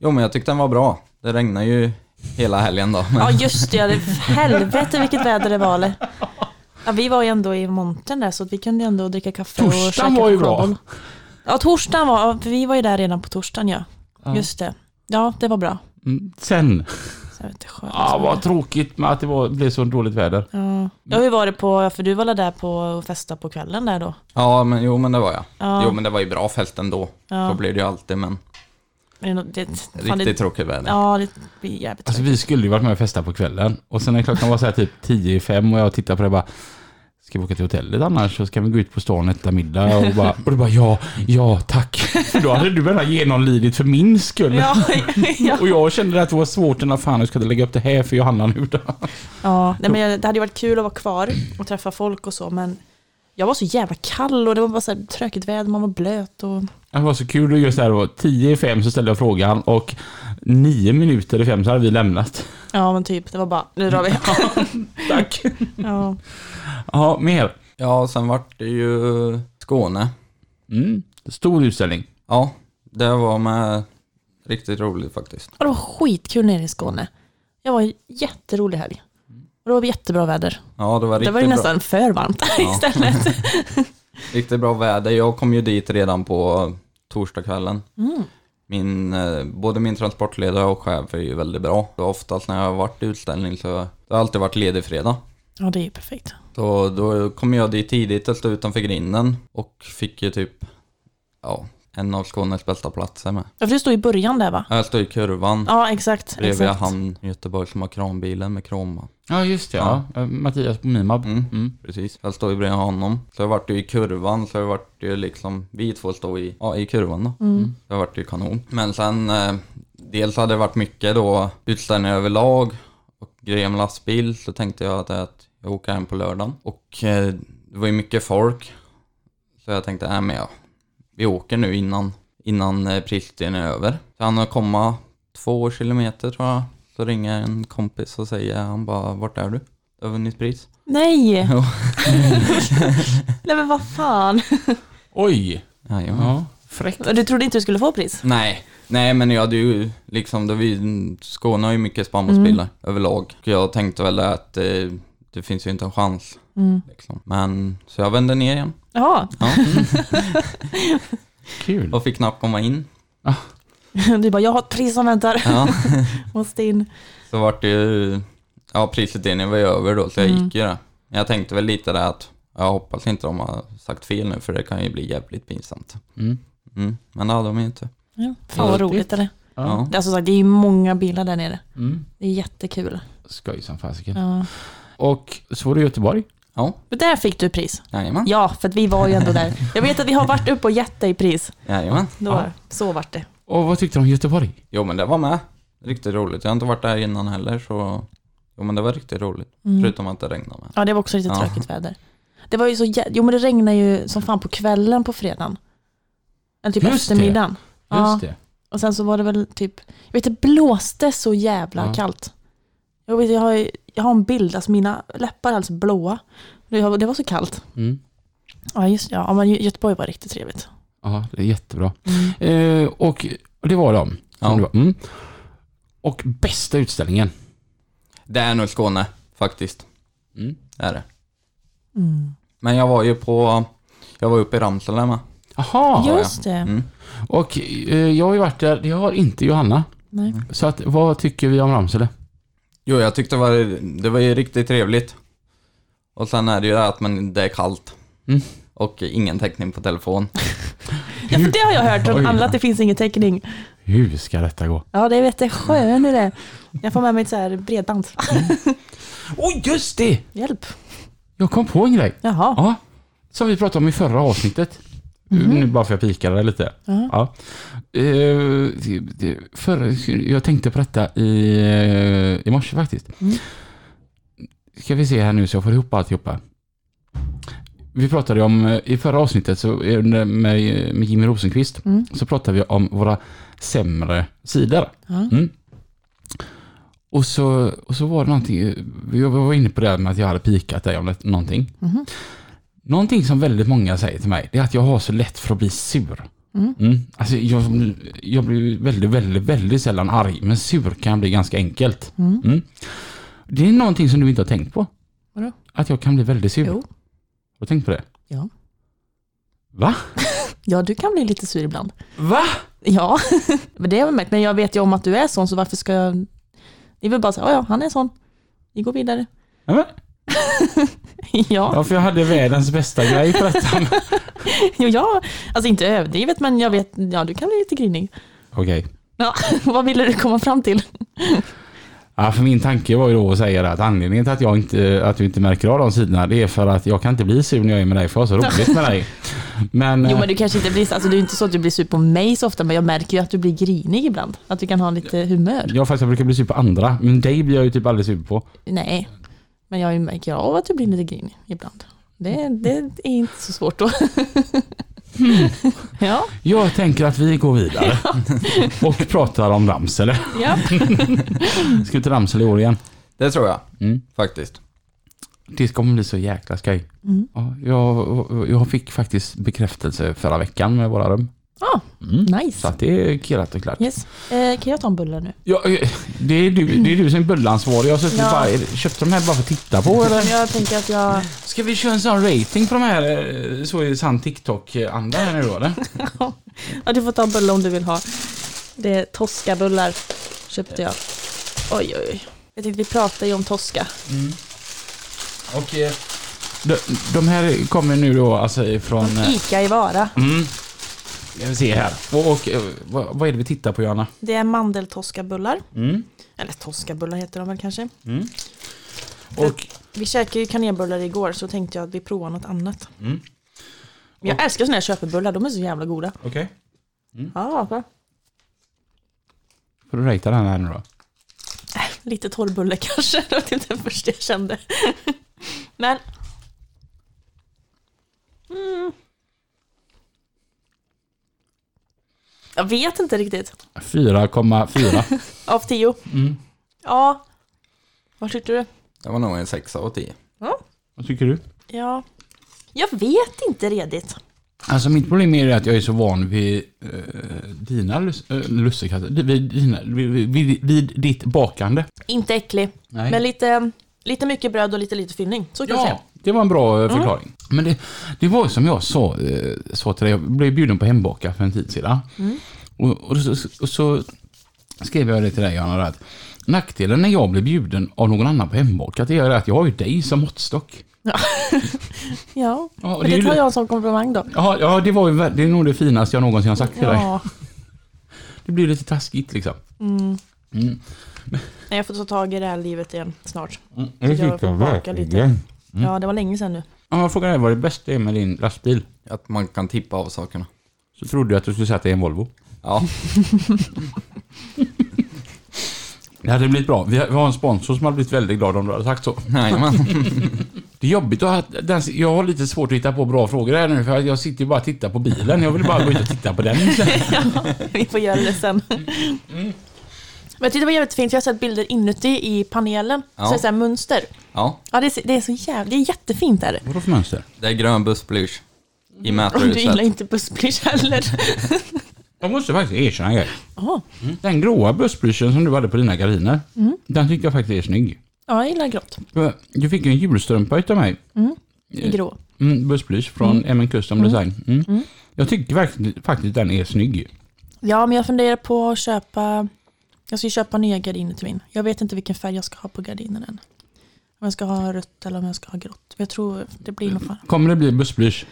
S3: Jo men jag tyckte den var bra. Det regnade ju hela helgen då. Men,
S1: Ja, just det. ja, det. Helvete vilket väder det var. eller? Ja, vi var ju ändå i montern där så att vi kunde ju ändå dricka kaffe och
S2: Torsdagen
S1: käka
S2: var ju
S1: chokladboll.
S2: bra.
S1: Ja, torsdagen var, ja, för vi var ju där redan på torsdagen ja. Just det. Ja, det var bra.
S2: Mm. Sen,
S1: Så jag vet inte, skönt.
S2: ah, vad tråkigt med att det var, blev så dåligt väder.
S1: Ja. ja, hur var det på, för du var väl där på och festa på kvällen där då?
S3: ja men jo men det var jag.
S1: Ja.
S3: Jo men det var ju bra fält ändå.
S1: Ja.
S3: Så blir det ju alltid men
S1: Är det, något- det, fan,
S3: riktigt
S1: det,
S3: tråkigt väder.
S1: Ja, det blir jävligt
S2: Alltså
S1: tråkigt.
S2: vi skulle ju varit med och festa på kvällen och sen när klockan var så här typ 10 i fem och jag tittade på det bara Ska vi åka till hotellet annars så ska vi gå ut på stan och äta middag och bara, och du bara ja, ja tack. För då hade du redan genomlidit för min skull.
S1: Ja, ja.
S2: Och jag kände att det var svårt, när fan jag ska lägga upp det här för Johanna nu då.
S1: ja nej, men jag- det hade ju varit kul att vara kvar och träffa folk och så, men jag var så jävla kall och det var bara så här tråkigt väder, man var blöt och...
S2: Det var så kul och just det här då, 10 i fem så ställde jag frågan och 9 minuter i fem så hade vi lämnat.
S1: Ja, men typ, det var bara, nu drar vi.
S2: Tack.
S1: Ja.
S2: Ja, mer.
S3: Ja, sen vart det ju Skåne.
S2: Mm. Stor utställning.
S3: Ja, det var med riktigt roligt faktiskt.
S1: Och det var skitkul nere i Skåne. Jag var en jätterolig helg. Och det var jättebra väder.
S3: Ja, det var riktigt,
S1: det var ju
S3: bra,
S1: nästan för varmt
S3: Ja.
S1: istället. Mm.
S3: riktigt bra väder. Jag kom ju dit redan på torsdagskvällen. Min, eh, både min transportledare och chef är ju väldigt bra. Så oftast när jag har varit i utställning så har jag alltid varit ledig fredag.
S1: Ja, det är ju perfekt.
S3: Så då kom jag dit tidigt och stod utanför grinden och fick ju typ, ja, en av Skånes bästa platser med.
S1: Ja, för du står i början där va?
S3: Jag stod i kurvan
S1: Ja, exakt.
S3: bredvid
S1: exakt.
S3: han i Göteborg som har kranbilen med kroma.
S2: Ja, just det. Ja. Eh, Mattias på Mimab.
S3: Mm.
S2: Mm.
S3: Precis, jag står ju bredvid honom. Så jag vart ju i kurvan, så jag vart ju liksom, vi två står i, ja, i kurvan då.
S1: Mm.
S3: Så jag vart ju kanon. Men sen, eh, dels hade det varit mycket då utställningar överlag och grejer med lastbil, så tänkte jag att, att jag åker hem på lördagen. Och eh, det var ju mycket folk, så jag tänkte, nej men ja, vi åker nu innan, innan eh, pristiden är över. Så han har komma två kilometer tror jag, så ringer en kompis och säger, han bara, vart är du? Du har vunnit pris.
S1: Nej!
S3: Jo.
S1: Nej men vad fan.
S2: Oj!
S3: Jajamän.
S2: Ja, fräckt.
S1: Du trodde inte du skulle få pris?
S3: Nej, nej men jag hade ju liksom, det var ju, Skåne har ju mycket
S2: Mm.
S3: spannmålsbilar överlag. Och jag tänkte väl att eh, det finns ju inte en chans.
S1: Mm.
S3: Liksom. Men, så jag vände ner igen
S1: Ja,
S3: ja,
S2: Mm. Kul.
S3: och fick knappt komma in.
S1: du bara jag har ett pris som väntar.
S3: Ja,
S1: Måste in.
S3: så vart det ju, ja prisutdelningen var ju över då så jag
S1: Mm.
S3: gick ju där. Men jag tänkte väl lite där att jag hoppas inte de har sagt fel nu för det kan ju bli jävligt pinsamt.
S2: Mm.
S3: Mm. Men det hade de ju inte.
S1: Ja, fan vad
S2: Ja,
S1: roligt
S2: det-
S1: eller?
S2: Ja.
S1: Det är alltså, som sagt, det är ju många bilar där nere.
S2: Mm.
S1: Det är jättekul.
S2: Skoj som fasiken.
S1: Ja.
S2: Och så var det Göteborg.
S3: Ja,
S1: Men där fick du pris.
S3: jajamän.
S1: Ja, för att vi var ju ändå där. Jag vet att vi har varit uppe och gett dig pris.
S3: jajamän.
S1: Då,
S2: Ja.
S1: Så vart det.
S2: Och vad tyckte du om Göteborg?
S3: Jo men det var med. Riktigt roligt. Jag har inte varit där innan heller så... Jo men det var riktigt roligt.
S1: Mm.
S3: Förutom att det regnade med.
S1: Ja, det var också riktigt
S3: Ja.
S1: tråkigt väder. Det var ju så jä- Jo, men det regnade ju som fan på kvällen på fredagen. Eller typ
S2: Just det.
S1: eftermiddagen. Ja.
S2: Just det.
S1: Och sen så var det väl typ, jag vet det blåste så jävla
S2: Ja.
S1: kallt. Jag, vet, jag, har, jag har en bild, alltså mina läppar är alltså blåa. Det var, det var så kallt.
S2: Mm.
S1: Ja, just ja. ja, men Gö- Göteborg var riktigt trevligt.
S2: Ja, det är jättebra.
S1: Mm.
S2: Eh, och det var de. som
S3: Ja.
S2: det var. Mm. Och bästa utställningen.
S3: Det är nog Skåne faktiskt.
S2: Mm.
S3: Det är det.
S1: Mm.
S3: Men jag var ju på... Jag var uppe i Ramsele med.
S2: Aha.
S3: Ja.
S1: just det.
S3: Mm.
S2: Och eh, jag har ju varit där, det har inte Johanna.
S1: Nej.
S2: Så att, vad tycker vi om Ramsele?
S3: Jo jag tyckte det var, det var ju riktigt trevligt. Och sen är det ju det att man, det är kallt.
S2: Mm.
S3: Och ingen täckning på telefon.
S1: Ja, för det har jag hört
S2: Oj.
S1: från alla, att det finns ingen täckning.
S2: Hur ska detta gå?
S1: Ja, det vet jag sjön är det. Jag får med mig ett så här bredband.
S2: Oj, just det!
S1: Hjälp.
S2: Jag kom på en grej.
S1: Jaha.
S2: Ja, som vi pratade om i förra avsnittet. Nu bara för att jag pikade där lite.
S1: Mhm. Ja.
S2: Ja. Eh, det- För, jag tänkte på detta i, eh, i morse faktiskt.
S1: Mm.
S2: Ska vi se här nu så jag får ihop alltihopa. Vi pratade ju om, eh, i förra avsnittet så, eh, med, med Jimmy Rosenqvist,
S1: Mm.
S2: så pratade vi om våra sämre sidor.
S1: Ja.
S2: Mm. Och, så, och så var det någonting, jag var inne på det här med att jag hade pikat dig om det- någonting.
S1: Mhm.
S2: Någonting som väldigt många säger till mig, det är att jag har så lätt för att bli sur.
S1: Mm.
S2: Alltså jag, jag blir väldigt, väldigt, väldigt sällan arg, men sur kan jag bli ganska enkelt.
S1: Mm.
S2: Det är någonting som du inte har tänkt på.
S1: Vadå?
S2: Att jag kan bli väldigt sur.
S1: Jo.
S2: Har du tänkt på det?
S1: Ja.
S2: Va?
S1: ja, du kan bli lite sur ibland.
S2: Va?
S1: Ja, men det har jag märkt. Men jag vet ju om att du är sån, så varför ska jag... Det är väl bara så här, "Ja, ja, han är sån. Vi går vidare.
S2: Ja, men,
S1: Ja,
S2: ja, för jag hade världens bästa grej på detta.
S1: jo, ja, alltså inte överdrivet, men jag vet, ja, du kan bli lite grinig.
S2: Okej.
S1: Ja, vad ville du komma fram till?
S2: Ja, för min tanke var ju då att säga det att anledningen till att, jag inte, att du inte märker av de sidorna, det är för att jag kan inte bli sur när jag är med dig, för jag har så roligt med dig. Men, eh,
S1: Jo, men du kanske inte blir, alltså det är inte så att du blir sur på mig så ofta, men jag märker ju att du blir grinig ibland. Att du kan ha lite humör.
S2: jag faktiskt jag brukar bli sur på andra, men dig blir jag ju typ aldrig sur på.
S1: Nej, men jag märker av att du blir lite grinig ibland. Det, det är inte så svårt då. Ja,
S2: Jag tänker att vi går vidare och pratar om Ramsele.
S1: ja.
S2: Ska vi till Ramsele i år igen?
S3: Det tror jag
S2: Mm.
S3: faktiskt.
S2: Det kommer bli så jäkla skoj.
S1: Mm.
S2: Ja, jag, jag fick faktiskt bekräftelse förra veckan med våra rum.
S1: Ah,
S2: Mm. Så
S1: nice.
S2: att det är kirrat och klart.
S1: Yes. Eh, kan jag ta en bulle nu?
S2: Ja, eh, det, är du, det är du som är bullansvarig. Jag har suttit
S1: Ja.
S2: bara, köpte de här bara för att titta på eller?
S1: Jag tänker att jag...
S2: Ska vi köra en sån rating på de här, eh, så i sann TikTok-anda här nu då eller?
S1: Ja, du får ta en bulle om du vill ha. Det är Toscabullar köpte jag. Oj, oj, oj. Jag tänkte, vi pratar ju om Tosca.
S2: Och eh, de, de här kommer nu då alltså ifrån... eh,
S1: Ica i Vara.
S2: Mm. Jag vill se här. Och, och eh, vad, vad är det vi tittar på Johanna?
S1: Det är mandeltoskabullar.
S2: Mm.
S1: Eller toskabullar heter de väl kanske.
S2: Och,
S1: Vi käkade ju kanelbullar igår så tänkte jag att vi provar något annat.
S2: Mm.
S1: Men Jag älskar såna här köpebullar, de är så jävla goda.
S2: Okej. Mm.
S1: Ja, bra.
S2: Får du ratea den här nu då?
S1: Lite torrbulle kanske, det var typ det första jag kände. Men... Mm. Jag vet inte riktigt.
S2: 4,4.
S1: Av tio.
S2: Mm.
S1: Ja. Vad tyckte du?
S3: Det var nog en sexa av tio.
S2: vad tycker du?
S1: Ja. Jag vet inte redigt.
S2: Alltså mitt problem är ju att jag är så van vid eh, dina lus- eh, lussekatter, vid, dina, vid, vid, vid ditt bakande.
S1: Inte äcklig.
S2: Nej.
S1: Men lite, lite mycket bröd och lite lite fyllning. Så kan jag säga.
S2: Ja, det var en bra eh, förklaring. Men det, det var ju som jag sa, eh, sa till dig, jag blev bjuden på hembaka för en tid sedan. Och, och, så, och så skrev jag det till dig Johanna, att nackdelen när jag blir bjuden av någon annan på hembaka, det är att jag har ju dig som måttstock.
S1: Ja,
S2: Ja,
S1: men
S2: det är
S1: det
S2: ju
S1: tar
S2: det-
S1: jag som komplimang då.
S2: Ja, ja det, var ju, ver- det är nog det finaste jag någonsin har sagt till dig.
S1: Ja.
S2: Det blir lite taskigt liksom.
S1: Nej, jag får ta tag i det här livet igen snart.
S2: Det
S1: tycker jag verkligen. lite. Ja, det var länge sedan nu.
S2: Ja, frågan är vad det bästa är med din lastbil.
S3: Att man kan tippa av sakerna.
S2: Så trodde jag att du skulle säga att det är en Volvo.
S3: Ja,
S2: Det hade blivit bra. Vi har, vi har en sponsor som hade blivit väldigt glad om du hade sagt så.
S3: nej men.
S2: Det är jobbigt att ha, den, jag har lite svårt att hitta på bra frågor här nu för jag sitter ju bara och tittar på bilen. Jag vill bara gå ut och titta på den.
S1: Vi får göra det sen.
S2: Mm.
S1: Men jag tyckte det var jävligt fint, jag har sett bilder inuti i panelen.
S3: Ja.
S1: Så det är så här mönster.
S3: Ja,
S1: Ja, det är, så- det är så jävligt, det är jättefint där.
S2: Vadå för mönster?
S3: det är grön bussblysch
S1: Och du
S3: i
S1: gillar
S3: mäthuset.
S1: inte bussblysch heller.
S2: Jag måste faktiskt erkänna en grej.
S1: Ja,
S2: Den gråa bussblyschen som du hade på dina gardiner. Den tycker jag faktiskt är snygg.
S1: Ja, jag gillar grått.
S2: För Du fick ju en julstrumpa utav mig.
S1: I grå.
S2: Mm, bussblysch från MN Custom Design. Mm. Jag tycker verkligen, faktiskt den är snygg.
S1: Ja, men jag funderar på att köpa... Jag ska ju köpa nya gardiner till min. Jag vet inte vilken färg jag ska ha på gardinerna än. Om jag ska ha rött eller om jag ska ha grått. Jag tror det blir nog fan.
S2: Kommer det bli bussblysch,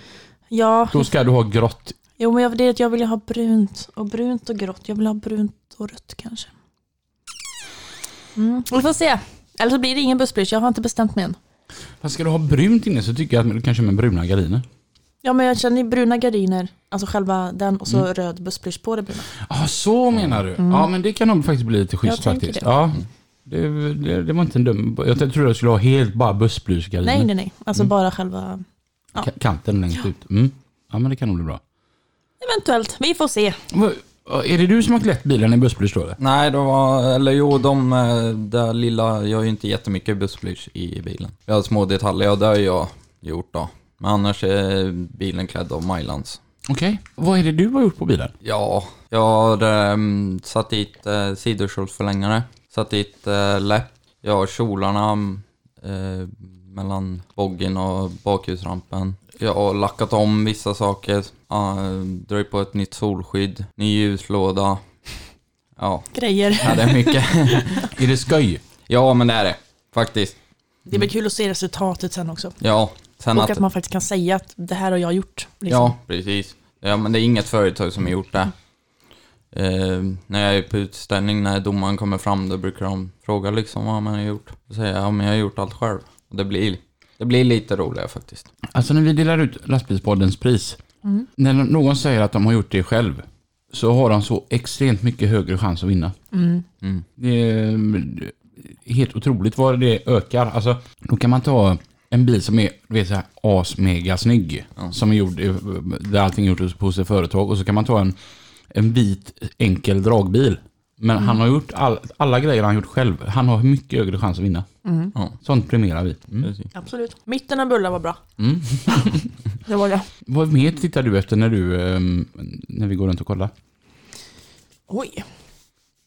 S1: Ja,
S2: då ska du ha grått.
S1: jo, men jag, det är att jag vill ju ha brunt och brunt och grått. Jag vill ha brunt och rött kanske. Mm. Vi får se. Eller så blir det ingen bussblysch. Jag har inte bestämt mig än.
S2: Fast ska du ha brunt inne så tycker jag att du kan köra med bruna gardiner.
S1: Ja, men jag känner ju bruna gardiner. Alltså själva den och så röd bussblysch på det bruna.
S2: Ja, så menar du. Mm. Ja, men det kan nog faktiskt bli lite schysst
S1: Mm. Jag tänker
S2: faktiskt.
S1: det.
S2: Ja. Det, det, det var inte en dum... Jag trodde jag skulle ha helt bara bussblusgardiner.
S1: Nej, nej, nej. Alltså bara själva... ja.
S2: Ka- Kanten längst ut. Mm. Ja, men det kan nog bli bra.
S1: Eventuellt. Vi får se.
S2: Vad- Är det du som har klätt bilen i bussblus då eller?
S3: Nej, det var, eller jo, de eh, där lilla, jag har ju inte jättemycket bussblysch i bilen. Jag har små detaljer, ja det har jag gjort då. Men annars är bilen klädd av Mailands.
S2: Okej. Vad är det du har gjort på bilen?
S3: Ja, jag har ehm, satt dit eh, sidoskjolsförlängare, satt dit eh, läpp, jag har kjolarna eh, mellan boggen och bakhusrampen. Jag har lackat om vissa saker, uh, dragit på ett nytt solskydd, ny ljuslåda. Ja,
S1: Grejer.
S3: ja det är mycket.
S2: Är det sköj?
S3: Ja, men det är det. Faktiskt.
S1: Det blir kul att se resultatet sen också.
S3: Ja. Sen
S1: Och
S3: att,
S1: att man faktiskt kan säga att det här har jag gjort. Liksom.
S3: ja, precis. Ja, men det är inget företag som har gjort det. Eh, när jag är på utställning, när domaren kommer fram, då brukar de fråga liksom vad man har gjort. Då säger jag, ja men jag har gjort allt själv. Och det blir, det blir lite roligare faktiskt.
S2: Alltså när vi delar ut lastbilspoddens pris. När någon säger att de har gjort det själv. Så har de så extremt mycket högre chans att vinna.
S3: Mm.
S2: Det är helt otroligt vad det ökar. Alltså, då kan man ta en bil som är du vet, så här, asmega snygg. Som är gjord, där allting är gjort hos ett företag. Och så kan man ta en, en vit enkel dragbil. Men han har gjort all, alla grejer han gjort själv. Han har mycket högre chans att vinna.
S3: Ja.
S2: Sånt premierar vi. Mm.
S3: Precis.
S1: Absolut. Mitten av bullar var bra.
S3: Mm.
S1: det var det.
S2: Vad mer tittar du efter när du ehm, när vi går runt och kollar?
S1: Oj.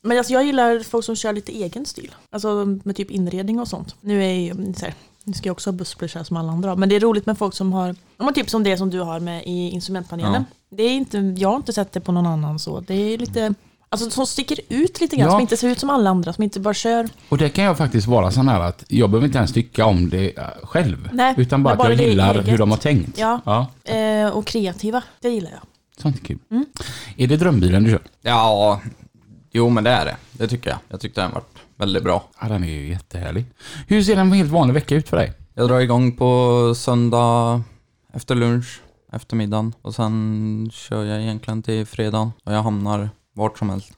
S1: Men alltså jag gillar folk som kör lite egen stil. Alltså med typ inredning och sånt. Nu är ju, så här, nu ska jag också ha bussblush här som alla andra har. Men det är roligt med folk som har, ja, men typ som det som du har med i instrumentpanelen. Det är inte, jag har inte sett det på någon annan så. Det är lite Alltså som sticker ut lite grann,
S2: Ja.
S1: som inte ser ut som alla andra, som inte bara kör.
S2: Och det kan jag faktiskt vara sån här att jag behöver inte ens tycka om det eh, själv.
S1: Nej,
S2: utan
S1: men
S2: bara att jag
S1: bara det är
S2: gillar
S1: eget.
S2: hur de har tänkt.
S1: Ja.
S2: ja
S1: Eh, och kreativa, det gillar jag.
S2: sånt är kul.
S1: Mm.
S2: Är det drömbilen du kör?
S3: Ja, jo men det är det. Det tycker jag. Jag tyckte den varit väldigt bra.
S2: Ja, Ah, den är ju jättehärlig. Hur ser en helt vanlig vecka ut för dig?
S3: Jag drar igång på söndag efter lunch, eftermiddagen. Och sen kör jag egentligen till fredagen och jag hamnar vart som helst.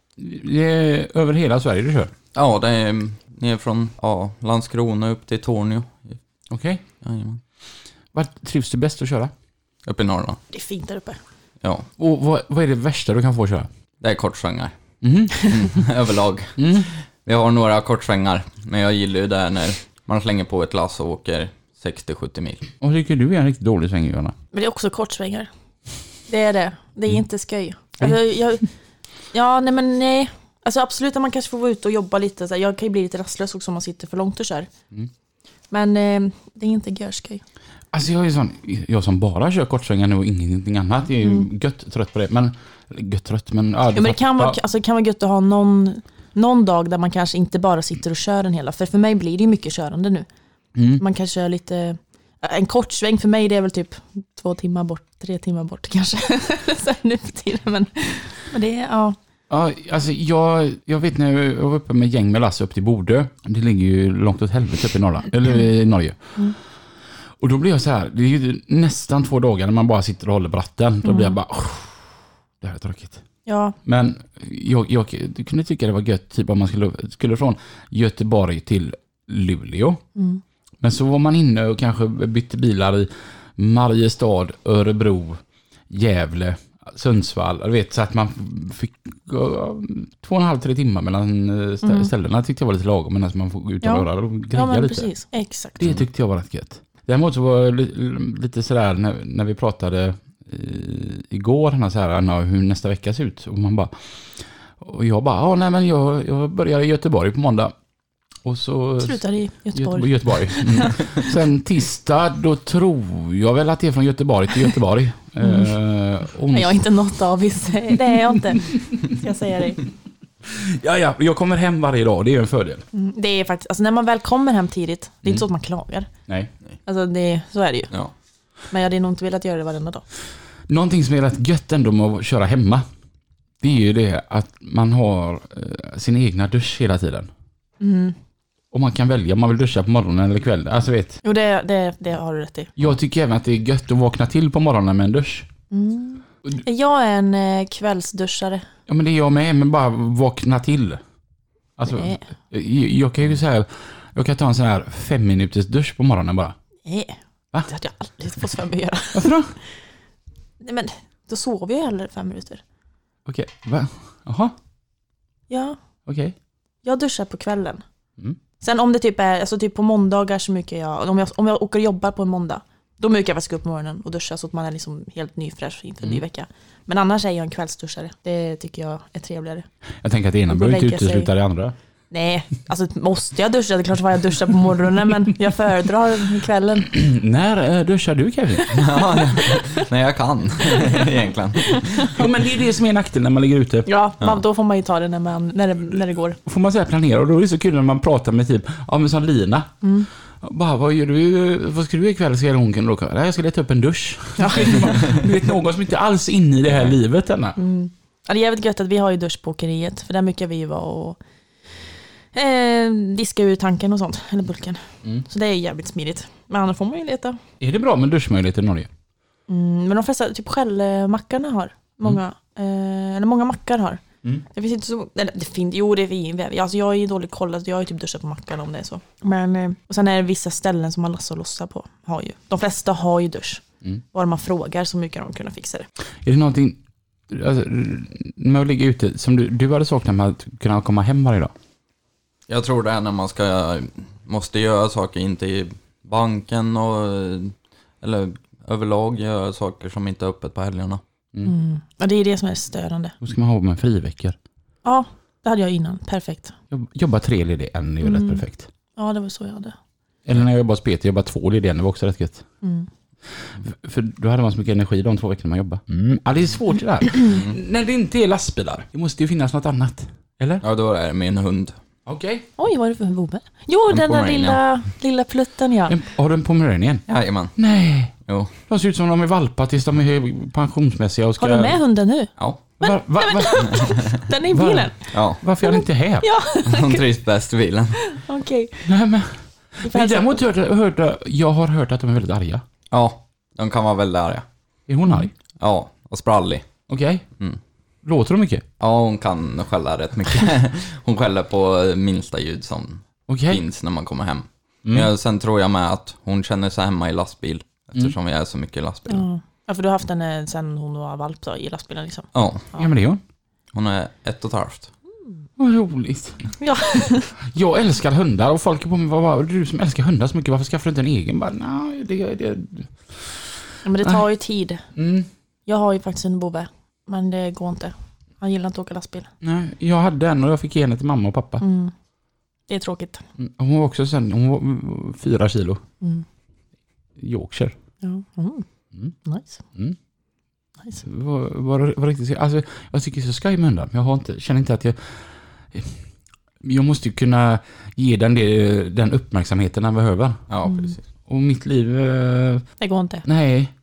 S2: Det är över hela Sverige du kör?
S3: Ja, det är ner från ja, Landskrona upp till Tornio.
S2: Okej.
S3: Jajamän.
S2: Vart trivs du bäst att köra?
S3: Upp i Norrland.
S1: Det är fint där uppe.
S3: Ja,
S2: Och vad, vad är det värsta du kan få köra?
S3: det är kortsvängar
S2: Mhm.
S3: överlag.
S2: Mm.
S3: Vi har några kortsvängar, men jag gillar ju det här när man slänger på ett lass och åker 60-70 mil.
S2: Vad tycker du är en riktigt dålig sväng, Johanna?
S1: Men det är också kortsvängar. Det är det. Det är inte skoj. Alltså, jag, ja, nej men nej. Alltså absolut att man kanske får vara ute och jobba lite. Så här, jag kan ju bli lite rastlös också om man sitter för långt och kör. Men eh, det är inte görskoj.
S2: Alltså jag är sån, jag som bara kör kortsvängar nu och ingenting annat, jag är ju gött trött på det. Men, gött trött men...
S1: Mm. Ja, men det kan vara, alltså, det kan vara gött att ha någon, någon dag där man kanske inte bara sitter och kör den hela. För för mig blir det ju mycket körande nu.
S2: Mm.
S1: Man kan köra lite... eh, En kortsväng för mig det är väl typ två timmar bort, tre timmar bort kanske. så här, nu för tiden. Men, men det är, ja.
S2: Ja, alltså jag, jag vet när jag var uppe med gäng med Lasse upp till Bodö. Det ligger ju långt åt helvete uppe i Norrland,
S1: Mm.
S2: eller i Norge. Och då blir jag så här, det är ju nästan två dagar när man bara sitter och håller på ratten.
S1: Mm.
S2: Då blir jag bara, "Åh, det här är tråkigt.
S1: ja.
S2: Men jag, jag kunde tycka det var gött typ om man skulle, skulle från Göteborg till Luleå.
S1: Mm.
S2: Men så var man inne och kanske bytte bilar i Mariestad, Örebro, Gävle, Sundsvall. Du vet, så att man fick ja, två och en halv, tre timmar mellan eh, stä- ställena tyckte jag var lite lagom. Medan man får gå ut och
S1: Mm. Ja.
S2: röra och greja
S1: Ja, men
S2: lite.
S1: precis. Exakt.
S2: Det tyckte jag var rätt gött. Däremot så var det li- lite sådär när, när vi pratade i, igår, han så här, Anna, hur nästa vecka ser ut. Och man bara, och jag bara, ja nej men jag, jag börjar i Göteborg på måndag. Och så...
S1: Slutar i Göteborg.
S2: Göteborg. Göteborg. Mm. Sen tisdag, då tror jag väl att det är från Göteborg till Göteborg. Eh, ons-
S1: Mm. Nej, jag är inte något avis. Det är jag inte. Ska jag säga dig.
S2: ja, ja, jag kommer hem varje dag, det är ju en fördel.
S1: Mm, Det är faktiskt, alltså när man väl kommer hem tidigt, det är
S2: Mm.
S1: inte så att man klagar.
S2: Nej.
S1: Alltså det, så är det ju.
S3: Ja.
S1: Men jag hade nog inte velat göra det varenda dag.
S2: Någonting som är rätt gött ändå med att köra hemma. Det är ju det att man har eh, sin egna dusch hela tiden. Mm. Och man kan välja om man vill duscha på morgonen eller kvällen. Alltså vet,
S1: Jo, det, det, det har du rätt i.
S2: jag tycker även att det är gött att vakna till på morgonen med en dusch.
S1: Jag är en eh, kvällsduschare.
S2: Ja men det är jag med, men bara vakna till. Alltså,
S1: Nej.
S2: jag, jag kan ju så här, jag kan ta en sån här fem minuters dusch på morgonen bara.
S1: Nej.
S2: Va?
S1: eh. Det hade jag aldrig fått för mig att göra.
S2: Varför då?
S1: Nej, men då sover jag hellre fem minuter.
S2: Okej, va? Jaha,
S1: Ja,
S2: okej.
S1: jag duschar på kvällen.
S2: Mm.
S1: Sen om det typ är, alltså typ på måndagar så mycket jag, om jag, om jag åker och jobbar på en måndag, då mycket jag faktiskt gå upp på morgonen och duscha så att man är liksom helt nyfräsch inför en ny vecka. Men annars är jag en kvällsduschare. Det tycker jag är trevligare.
S2: Jag tänker att det
S1: Gå
S2: ena
S1: och
S2: behöver inte
S1: lägga sig.
S2: utesluta det andra.
S1: Nej, alltså måste jag duscha? Det är klart att jag duschar på morgonen men jag föredrar kvällen.
S2: När eh, duschar du Kevin?
S3: ja, när jag kan egentligen.
S2: Ja men det är det som är nackdelen när man ligger ute.
S1: Ja, man, då får man ju ta det när, man, när, det, när det går.
S2: får man säga planera och då är det så kul när man pratar med typ, ja men som Lina. Bara, vad gör du, vad ska du göra ikväll? Ska hon kunna åka? Nej, jag ska leta upp en dusch. du vet någon som inte alls är inne i det här livet ännu.
S1: Ja, det är jävligt gött att vi har ju dusch på åkeriet, för där mycket vi ju vara och eh, diska ur tanken och sånt, eller bulken.
S2: Mm.
S1: Så det är jävligt smidigt. Men annars får man ju leta.
S2: Är det bra med duschmöjligheter i Norge?
S1: Mm, men de flesta, typ skällmackarna har, många, eh, eller många mackar har.
S2: Mm.
S1: Det finns inte så, eller det finns, jo det finns, alltså jag är ju dåligt kollad, jag har ju typ duschat på mackarna om det är så. Men, eh, och sen är det vissa ställen som man lassar och lossar på, har ju. De flesta har ju dusch.
S2: Mm.
S1: Bara man frågar så mycket de kunna fixa det.
S2: Är det någonting, alltså, med att ligga ute, som du, du hade saknat med att kunna komma hem varje dag?
S3: Jag tror det är när man ska, måste göra saker, inte i banken och, eller överlag göra saker som inte är öppet på helgerna.
S1: Och det är det som är störande.
S2: Då ska man ha med friveckor.
S1: Ja, det hade jag innan, perfekt.
S2: Jobb- Jobba tre ledig en är ju rätt perfekt.
S1: Ja, det var så jag hade. Mm.
S2: Eller när jag jobbade hos Peter, jobba två lediga en, det var också rätt gött. För då hade man så mycket energi de två veckorna man jobbade. Mm. Ja, det är svårt det där. När det inte är lastbilar. Det måste ju finnas något annat. Eller?
S3: Ja, då är det min hund.
S2: Okej.
S1: Oj, vad är det för en bobe? Jo,
S3: En
S1: den där
S3: pomeranian.
S1: lilla, lilla plutten ja.
S2: En- Har du en pomeranien?
S3: Jajamän.
S2: Nej.
S3: Jo.
S2: De ser ut som de är valpar tills de är pensionsmässiga och ska...
S1: Har du med hunden nu?
S3: Ja.
S2: Va, va, va,
S1: Den är i
S2: Va?
S1: bilen?
S3: Ja.
S2: varför är den inte här?
S1: Ja,
S3: Hon trivs bäst i bilen.
S1: okej.
S2: Nej, men,
S1: Du får
S2: men
S1: hälsa
S2: däremot
S1: på.
S2: hörde, hörde, jag har hört att de är väldigt arga.
S3: Ja. De kan vara väldigt arga.
S2: Är
S1: Mm.
S2: hon arg?
S3: Ja. Och sprallig.
S2: Okej.
S3: Mm.
S2: Låter de mycket?
S3: Ja, hon kan skälla rätt mycket. Hon skäller på minsta ljud som
S2: Okej.
S3: finns när man kommer hem.
S2: Mm.
S3: Men sen tror jag med att hon känner sig hemma i lastbil. Eftersom vi är så mycket i lastbil.
S1: Ja. Ja, för du har haft den eh, sen hon var valp då, i lastbilen liksom.
S3: Ja.
S2: Ja, men det är hon.
S3: Hon är ett och ett halvt.
S2: Vad roligt.
S1: Ja.
S2: Jag älskar hundar och folk är på mig, vad, vad, du som älskar hundar så mycket, varför skaffar du inte en egen? Bara, nej, det, det,
S1: Men det
S2: Ah.
S1: tar ju tid.
S2: mm,
S1: Jag har ju faktiskt en bobe, men det går inte. Han gillar inte att åka lastbil.
S2: nej, jag hade en och jag fick ge henne till mamma och pappa.
S1: Mm. Det är tråkigt.
S2: Mm, Hon var också sen, hon var mm, fyra kilo.
S1: Mm.
S2: Yorkshire.
S1: Ja. Mm.
S2: Mm.
S1: Nice.
S2: Mm.
S1: nice.
S2: Var, var, var riktigt, skoj. alltså, jag tycker det är så skoj med hundar, men jag har inte, känner inte att jag... eh, Jag måste ju kunna ge den det, den uppmärksamheten den behöver.
S3: Ja,
S1: Mm.
S3: precis.
S2: Och mitt liv, eh,
S1: Det går inte.
S2: nej.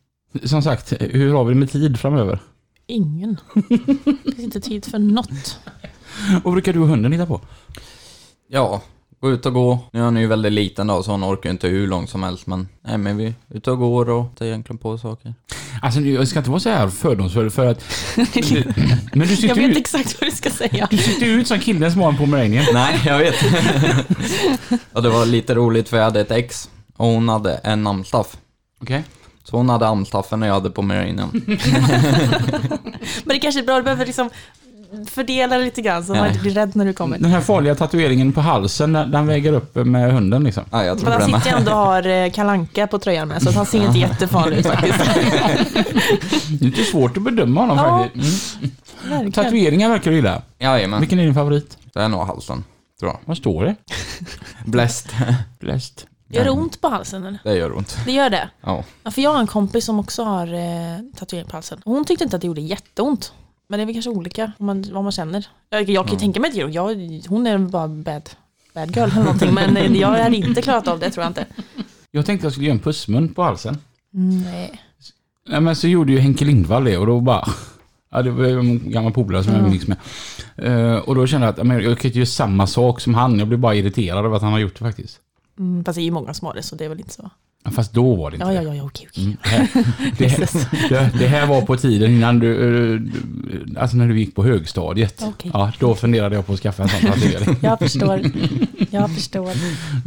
S2: Som sagt, hur har vi det med tid framöver?
S1: Ingen. Det finns inte tid för något.
S2: Vad brukar du och hunden hitta på?
S3: Ja, gå ut och gå. Nu är hon ju väldigt liten då, så hon orkar ju inte hur långt som helst. Men nej, men vi är ute och går och tar egentligen på saker.
S2: Alltså nu, jag ska inte vara så här fördomsfull för att... men du
S1: Jag
S2: sitter,
S1: vet
S2: ut,
S1: exakt vad du ska säga.
S2: du sitter ju ut som killen som har en pomeranien.
S3: Nej, jag vet. och det var lite roligt för jag hade ett ex och hon hade en amstaff.
S2: Okej.
S3: Så hon hade amstaffen och jag hade på merinen.
S1: Men det kanske är bra, du behöver liksom fördela det lite grann så man
S3: Nej.
S1: inte blir rädd när du kommer.
S2: Den här farliga tatueringen på halsen, den, den väger upp med hunden liksom.
S3: Ja, jag tror
S1: Men han
S3: det med.
S1: sitter ju ändå och har eh, kalanka på tröjan med, så att han ser inte jättefarlig ut faktiskt.
S2: Det är inte svårt att bedöma honom
S1: Ja.
S2: faktiskt. Mm.
S1: Verkligen.
S2: Tatueringar verkar du gilla.
S3: Jajamän,
S2: Vilken är din favorit?
S3: det är nog halsen. Tror jag.
S2: Vad står det?
S3: Bläst.
S2: Bläst.
S1: Gör det ont på halsen eller?
S3: Det gör ont.
S1: Det gör det.
S3: Ja.
S1: Ja, för jag har en kompis som också har eh, tatuering på halsen. Hon tyckte inte att det gjorde jätteont. Men det är väl kanske olika vad man, vad man känner. Jag, jag kan ju tänka mig att det gör- jag, hon är bara bad, bad girl eller någonting. Men eh, jag hade inte klarat av det tror jag inte.
S2: Jag tänkte jag skulle göra en pussmun på halsen.
S1: Nej.
S2: Nej men så gjorde ju Henke Lindvall det och då bara... Ja, det var ju en gammal polare som jag umgicks med. Eh, och då kände jag att ja, men jag kan ju inte göra samma sak som han. Jag blev bara irriterad över att han har gjort det faktiskt.
S1: Mm, fast det är ju många som har det så det är väl inte så.
S2: Ja, Fast då var det inte
S1: Ja, ja,
S2: det.
S1: ja, ja okej, okej.
S2: Mm, det här- Det, här- det, det här var på tiden innan du, eh, du- alltså när du gick på högstadiet.
S1: Okej.
S2: Ja, då funderade jag på att skaffa en sån tatuering.
S1: Jag förstår. Jag förstår.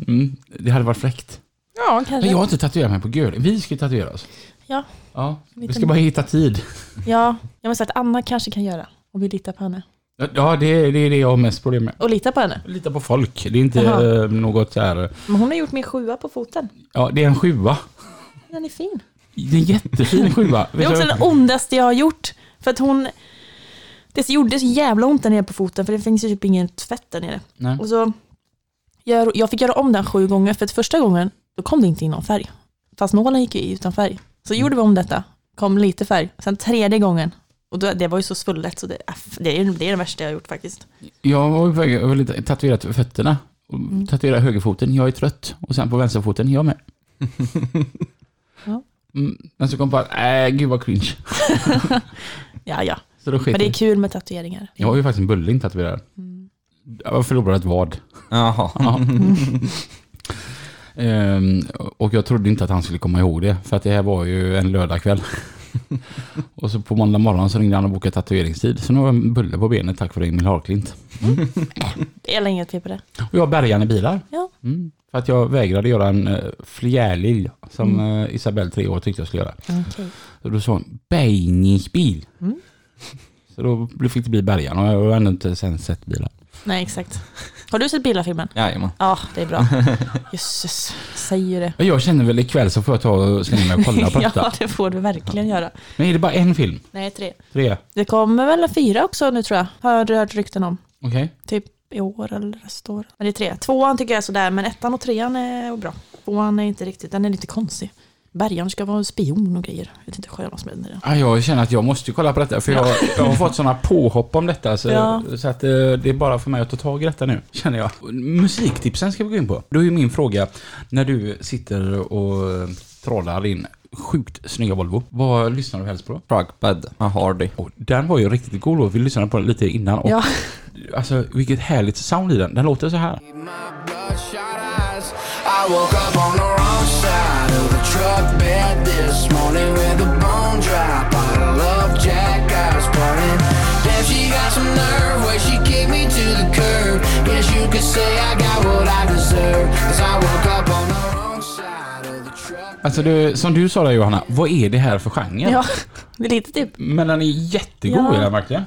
S2: Mm, det hade varit fräckt.
S1: Ja,
S2: Men
S1: kanske.
S2: jag har inte tatuerat mig på gölen. Vi ska ju tatuera oss.
S1: Ja.
S2: ja. Vi
S1: Liten-
S2: ska bara hitta tid.
S1: Ja, jag måste säga att Anna kanske kan göra. Och vi litar på henne.
S2: Ja, det, är- det är det jag har mest problem med.
S1: Och lita på henne.
S2: Lita på folk. Det är inte
S1: Jaha.
S2: eh, något så här...
S1: Men hon har gjort min sjua på foten.
S2: Ja, det är en sjua.
S1: Den är fin.
S2: Det är en jättefin sjua.
S1: Det är också den ondaste jag har gjort. För att hon... Det gjorde så jävla ont där nere på foten för det finns ju typ ingen tvätt där nere.
S2: Nej.
S1: Och så, jag, jag fick göra om den sju gånger för att första gången då kom det inte in någon färg. Fast nålen gick ju i utan färg. Så gjorde vi om detta, kom lite färg. Sen tredje gången, och då, det var ju så svullet så det, aff, det, är, det är det värsta jag har gjort faktiskt.
S2: Jag var på väg, jag ville tatuera fötterna. Och
S1: Mm.
S2: Tatuera högerfoten, jag är trött. Och sen på vänsterfoten, jag med.
S1: Ja.
S2: Mm, men så kom jag på att, äh, gud vad cringe.
S1: Ja, ja.
S2: Så då
S1: Men
S2: sket
S1: det är
S2: jag.
S1: kul Mm. med tatueringar.
S2: Jag har ju faktiskt en bulling tatuerad. Jag förlorade ett vad.
S3: Jaha.
S2: Ja. Ehm, och jag trodde inte att han skulle komma ihåg det, för att det här var ju en lördagkväll. och så på måndag morgon så ringde han och bokade tatueringstid. Så nu har jag en bulle på benet tack vare Emil Harklint.
S1: Det är länge ett fel på det.
S2: Och jag bärgar i bilar.
S1: Ja.
S2: Mm, för att jag vägrade göra en uh, fjärilj som
S1: Mm.
S2: eh, Isabelle tre år tyckte jag skulle göra.
S1: Okej.
S2: Så då sa hon bärgningsbil.
S1: Mm.
S2: Så då fick det bli bärgaren och jag har ändå inte sen sett bilar.
S1: Nej, exakt. Har du sett Billa-filmen?
S3: Jajamän.
S1: Ja, det är bra. Jösses, säger det.
S2: Men Jag känner väl ikväll så får jag ta och slänga mig och kolla på detta.
S1: Ja, det får du verkligen göra.
S2: Men är det bara en film?
S1: Nej, tre.
S2: Tre?
S1: Det kommer väl en fyra också nu tror jag. Har du hört rykten om.
S2: Okej.
S1: Typ i år eller nästa år. Men det är tre. Tvåan tycker jag är sådär, men ettan och trean är bra. Tvåan är inte riktigt, den är lite konstig. Bergan ska vara spion och grejer. Jag vet inte själv vad som händer.
S2: Ja, Ah, jag känner att jag måste kolla på detta för jag, jag har fått sådana påhopp om detta så,
S1: Ja.
S2: så att eh, det är bara för mig att ta tag i detta nu, känner jag. Musiktipsen ska vi gå in på. Då är ju min fråga, när du sitter och eh, trollar din sjukt snygga Volvo, vad lyssnar du helst på?
S3: Truckbed med Hardy.
S2: Och den var ju riktigt cool då, vi lyssnade på den lite innan och
S1: Ja.
S2: alltså vilket härligt sound i den. Den låter så här.
S4: My bloodshot eyes. I woke up on the wrong side of the truck bed this morning with a bone drop. I love Jack eyes burning. Damn, she got some nerve where she kicked me to the curb. Guess you could say I got what I deserve. Cause I woke up on the wrong side of the truck.
S2: Alltså det, som du sa där Johanna, vad är det här för genre?
S1: ja, det är lite typ.
S2: Men den är jättegod
S1: Ja.
S2: är den verkligen.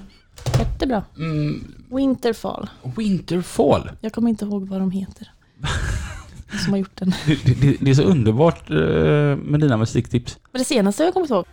S1: Jättebra.
S2: Mm.
S1: Winterfall.
S2: Winterfall.
S1: Jag kommer inte ihåg vad de heter. som har gjort den.
S2: Det, det, det är så underbart eh, med dina musiktips.
S1: Men det senaste jag kommit ihåg.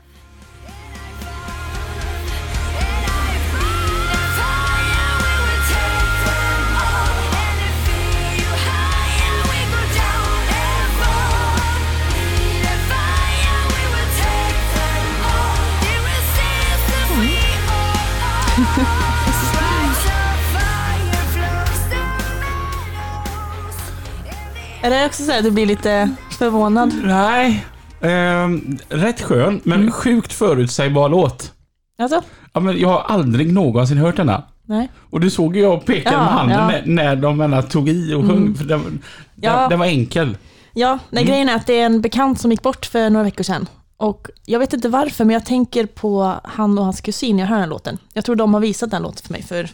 S1: Är det också så här att du blir lite förvånad?
S2: Nej. Ehm, rätt skön, men sjukt förutsägbar låt.
S1: Alltså?
S2: Ja, men jag har aldrig någonsin hört denna.
S1: Nej.
S2: Och du såg ju jag peka
S1: Ja,
S2: med handen
S1: ja. Mm.
S2: när, när de ena tog i och sjöng. För den, den,
S1: Ja.
S2: den var enkel.
S1: Ja, nej, grejen är att det är en bekant som gick bort för några veckor sedan. Och jag vet inte varför, men jag tänker på han och hans kusin när jag hör den låten. Jag tror de har visat den låten för mig för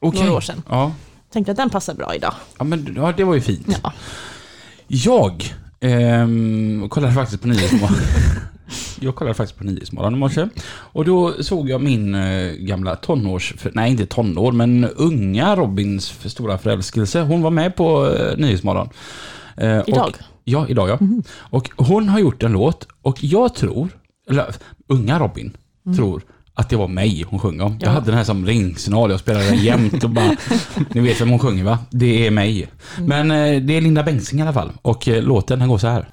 S2: Okej.
S1: Några år sedan.
S2: Ja.
S1: tänkte att den passar bra idag.
S2: Ja, men, ja, det var ju fint.
S1: Ja.
S2: Jag ehm, kollade faktiskt på Nyhetsmorgon. jag kollade faktiskt på Nyhetsmorgon i morse. Och då såg jag min eh, gamla tonårs... för- Nej, inte tonår, men unga Robins för stora förälskelse. Hon var med på eh, Nyhetsmorgon. Eh,
S1: Idag? Mhm.
S2: Och, ja, idag ja. Och hon har gjort en låt och jag tror, eller unga Robin
S1: Mm.
S2: tror, att det var mig hon sjöng om. Jag hade den här som ringsignal, jag spelade den jämt och bara... ni vet vem hon sjunger va? Det är mig.
S1: Mm.
S2: Men eh, det är Linda Bengtzing i alla fall och eh, låten den går så här.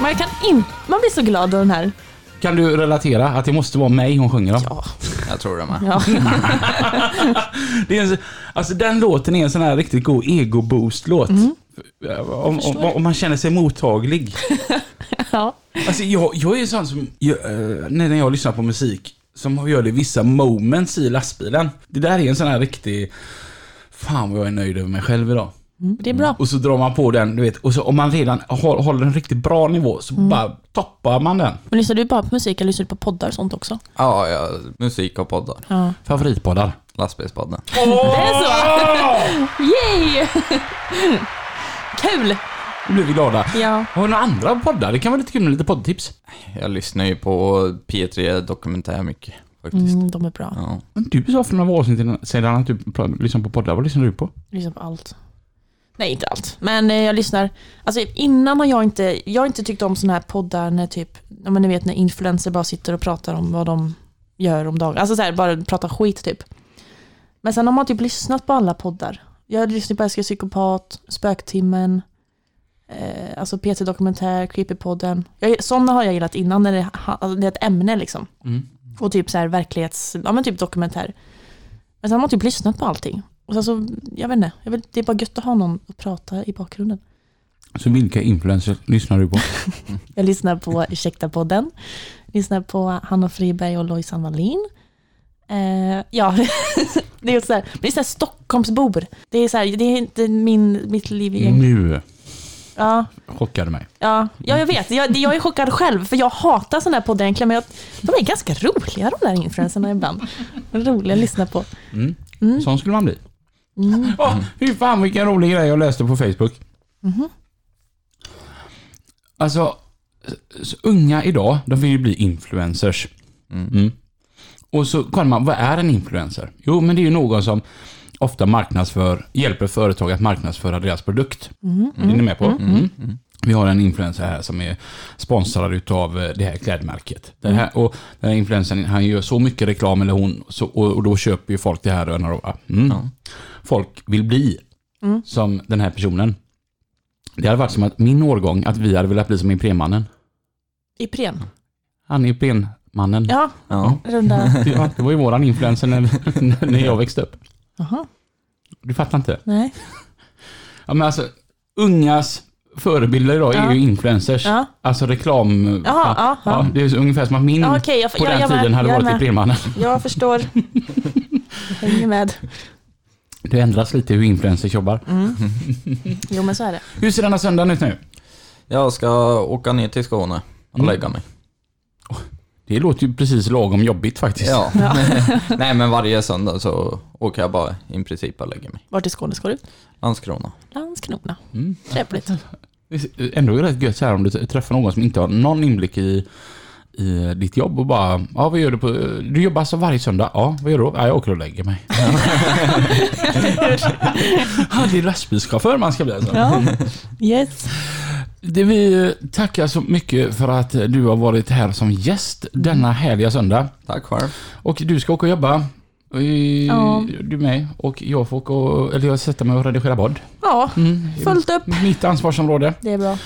S1: Man, kan in, man blir så glad av den här.
S2: Kan du relatera att det måste vara mig hon sjunger om?
S1: Ja.
S3: Jag tror det med.
S1: Ja.
S2: Det är en, så- alltså den låten är en sån här riktigt god ego-boost-låt. Om, om, om man känner sig mottaglig.
S1: ja.
S2: Alltså jag, jag är ju sån som, jag, eh, när jag lyssnar på musik, som gör det vissa moments i lastbilen. Det där är en sån här riktig, fan vad jag är nöjd över mig själv idag.
S1: Det är bra.
S2: Och så drar man på den, du vet, och så om man redan hå- håller en riktigt bra nivå så bara toppar man den.
S1: Men lyssnar du bara på musik eller lyssnar du på poddar och sånt också?
S3: Ja, ja, musik och poddar.
S1: Ja.
S2: Favoritpoddar.
S3: Lastbilspodden.
S1: Det är så! Yay! Kul!
S2: Nu blir vi glada.
S1: Ja.
S2: Har du några andra poddar? Det kan vara lite kul med lite poddtips.
S3: Jag lyssnar ju på P3 Dokumentär mycket faktiskt.
S1: Mm, de är bra.
S3: Ja.
S2: Men du sa för några år sedan- sedan att du pr- lyssnar på poddar. Vad lyssnar du på?
S1: Jag lyssnar på allt. Nej, inte allt. Men eh, jag lyssnar. Alltså innan har jag inte, jag har inte tyckt om sådana här poddar när typ, ja men ni vet när influencer bara sitter och pratar om vad de gör om dagen. Alltså så här, bara prata skit typ. Men sen har man typ lyssnat på alla poddar. Jag lyssnar på Älskar Psykopat, Spöktimmen, eh, alltså PT Dokumentär, Creepypodden. Jag- Sådana har jag gillat innan när det, ha- alltså, det är ett ämne liksom. Och typ så här verklighets, ja men typ dokumentär. Men sen har man typ lyssnat på allting. Och sen så, jag vet inte, jag vill, det är bara gött att ha någon att prata i bakgrunden.
S2: Så vilka influencers lyssnar du på?
S1: Jag lyssnar på Ursäkta-podden, lyssnar på Hanna Friberg och Lojsan Wallin. Eh, ja, det är så här, men det är så här Stockholmsbor. Det är så här, det är inte min, mitt liv egentligen.
S2: Nu
S1: Ja,
S2: chockar du mig.
S1: ja, ja, jag vet. Jag, jag är chockad själv, för jag hatar sådana här poddar egentligen, men jag, de är ganska roliga de där influencerna ibland. Roliga att lyssna på.
S2: Sån skulle man bli. Åh, fy fan vilken rolig grej jag läste på Facebook. Alltså, så unga idag, de vill ju bli influencers. Mm. Och så kollar man, vad är en influencer? Jo, men det är ju någon som ofta marknadsför, hjälper företag att marknadsföra deras produkt. Är ni med på? Mm. Vi har en influencer här som är sponsrad utav eh, det här klädmärket. Den här, och den här influencern, han gör så mycket reklam, eller hon, så, och, och då köper ju folk det här. Och, och, mm. Folk vill bli
S1: Mm.
S2: som den här personen. Det hade varit som att min årgång, att vi hade velat bli som Iprenmannen.
S1: Ipren.
S2: Han är Iprenmannen.
S1: Ja,
S3: Ja.
S1: runda.
S2: Ja, det var ju våran influencer när, när jag växte upp.
S1: Jaha,
S2: Du fattar inte?
S1: nej.
S2: Ja, men alltså, ungas förebilder idag är
S1: Ja.
S2: ju influencers.
S1: Ja.
S2: Alltså reklam...
S1: Ja, ja, ja.
S2: det är så ungefär som att min
S1: Ja, okej, jag-
S2: Mm. på
S1: ja,
S2: den
S1: jag med,
S2: tiden hade
S1: jag
S2: varit
S1: med.
S2: i Prillmannen.
S1: Jag förstår. Hänger med.
S2: Det ändras lite hur influencers jobbar.
S1: Mm. Jo, men så är det.
S2: Hur ser denna söndagen ut nu?
S3: Jag ska åka ner till Skåne och lägga mig.
S2: Det låter ju precis lagom jobbigt faktiskt.
S3: Ja. Nej men varje söndag så åker jag bara i princip och lägger mig.
S1: Vart i Skåne ska du?
S3: Landskrona.
S1: Landskrona.
S2: Mm.
S1: Trevligt.
S2: Det är Ändå rätt gött så här om du träffar någon som inte har någon inblick i, i ditt jobb och bara, ja vad gör du på... Du jobbar alltså varje söndag? Ja, vad gör du då? Ja, jag åker och lägger mig. ja, det är lastbilschaufför man ska bli alltså.
S1: Ja, yes.
S2: Det vi tackar så mycket för att du har varit här som gäst denna härliga söndag.
S3: Tack själv.
S2: Och du ska åka och jobba. Och, eh,
S1: Ja.
S2: Du med. Och jag får åka och, eller jag sätter mig och redigera podd.
S1: Ja,
S2: Mm.
S1: fullt upp.
S2: Mitt ansvarsområde.
S1: Det är bra.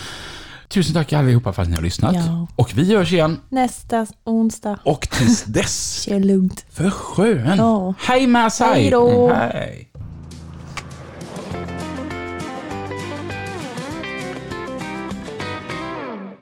S2: Tusen tack allihopa för att ni har lyssnat.
S1: Ja.
S2: Och vi hörs igen.
S1: Nästa onsdag.
S2: Och tills dess,
S1: Kör lugnt.
S2: för sjön.
S1: Ja.
S2: Hej med sig!
S1: Hej då.
S2: Hej.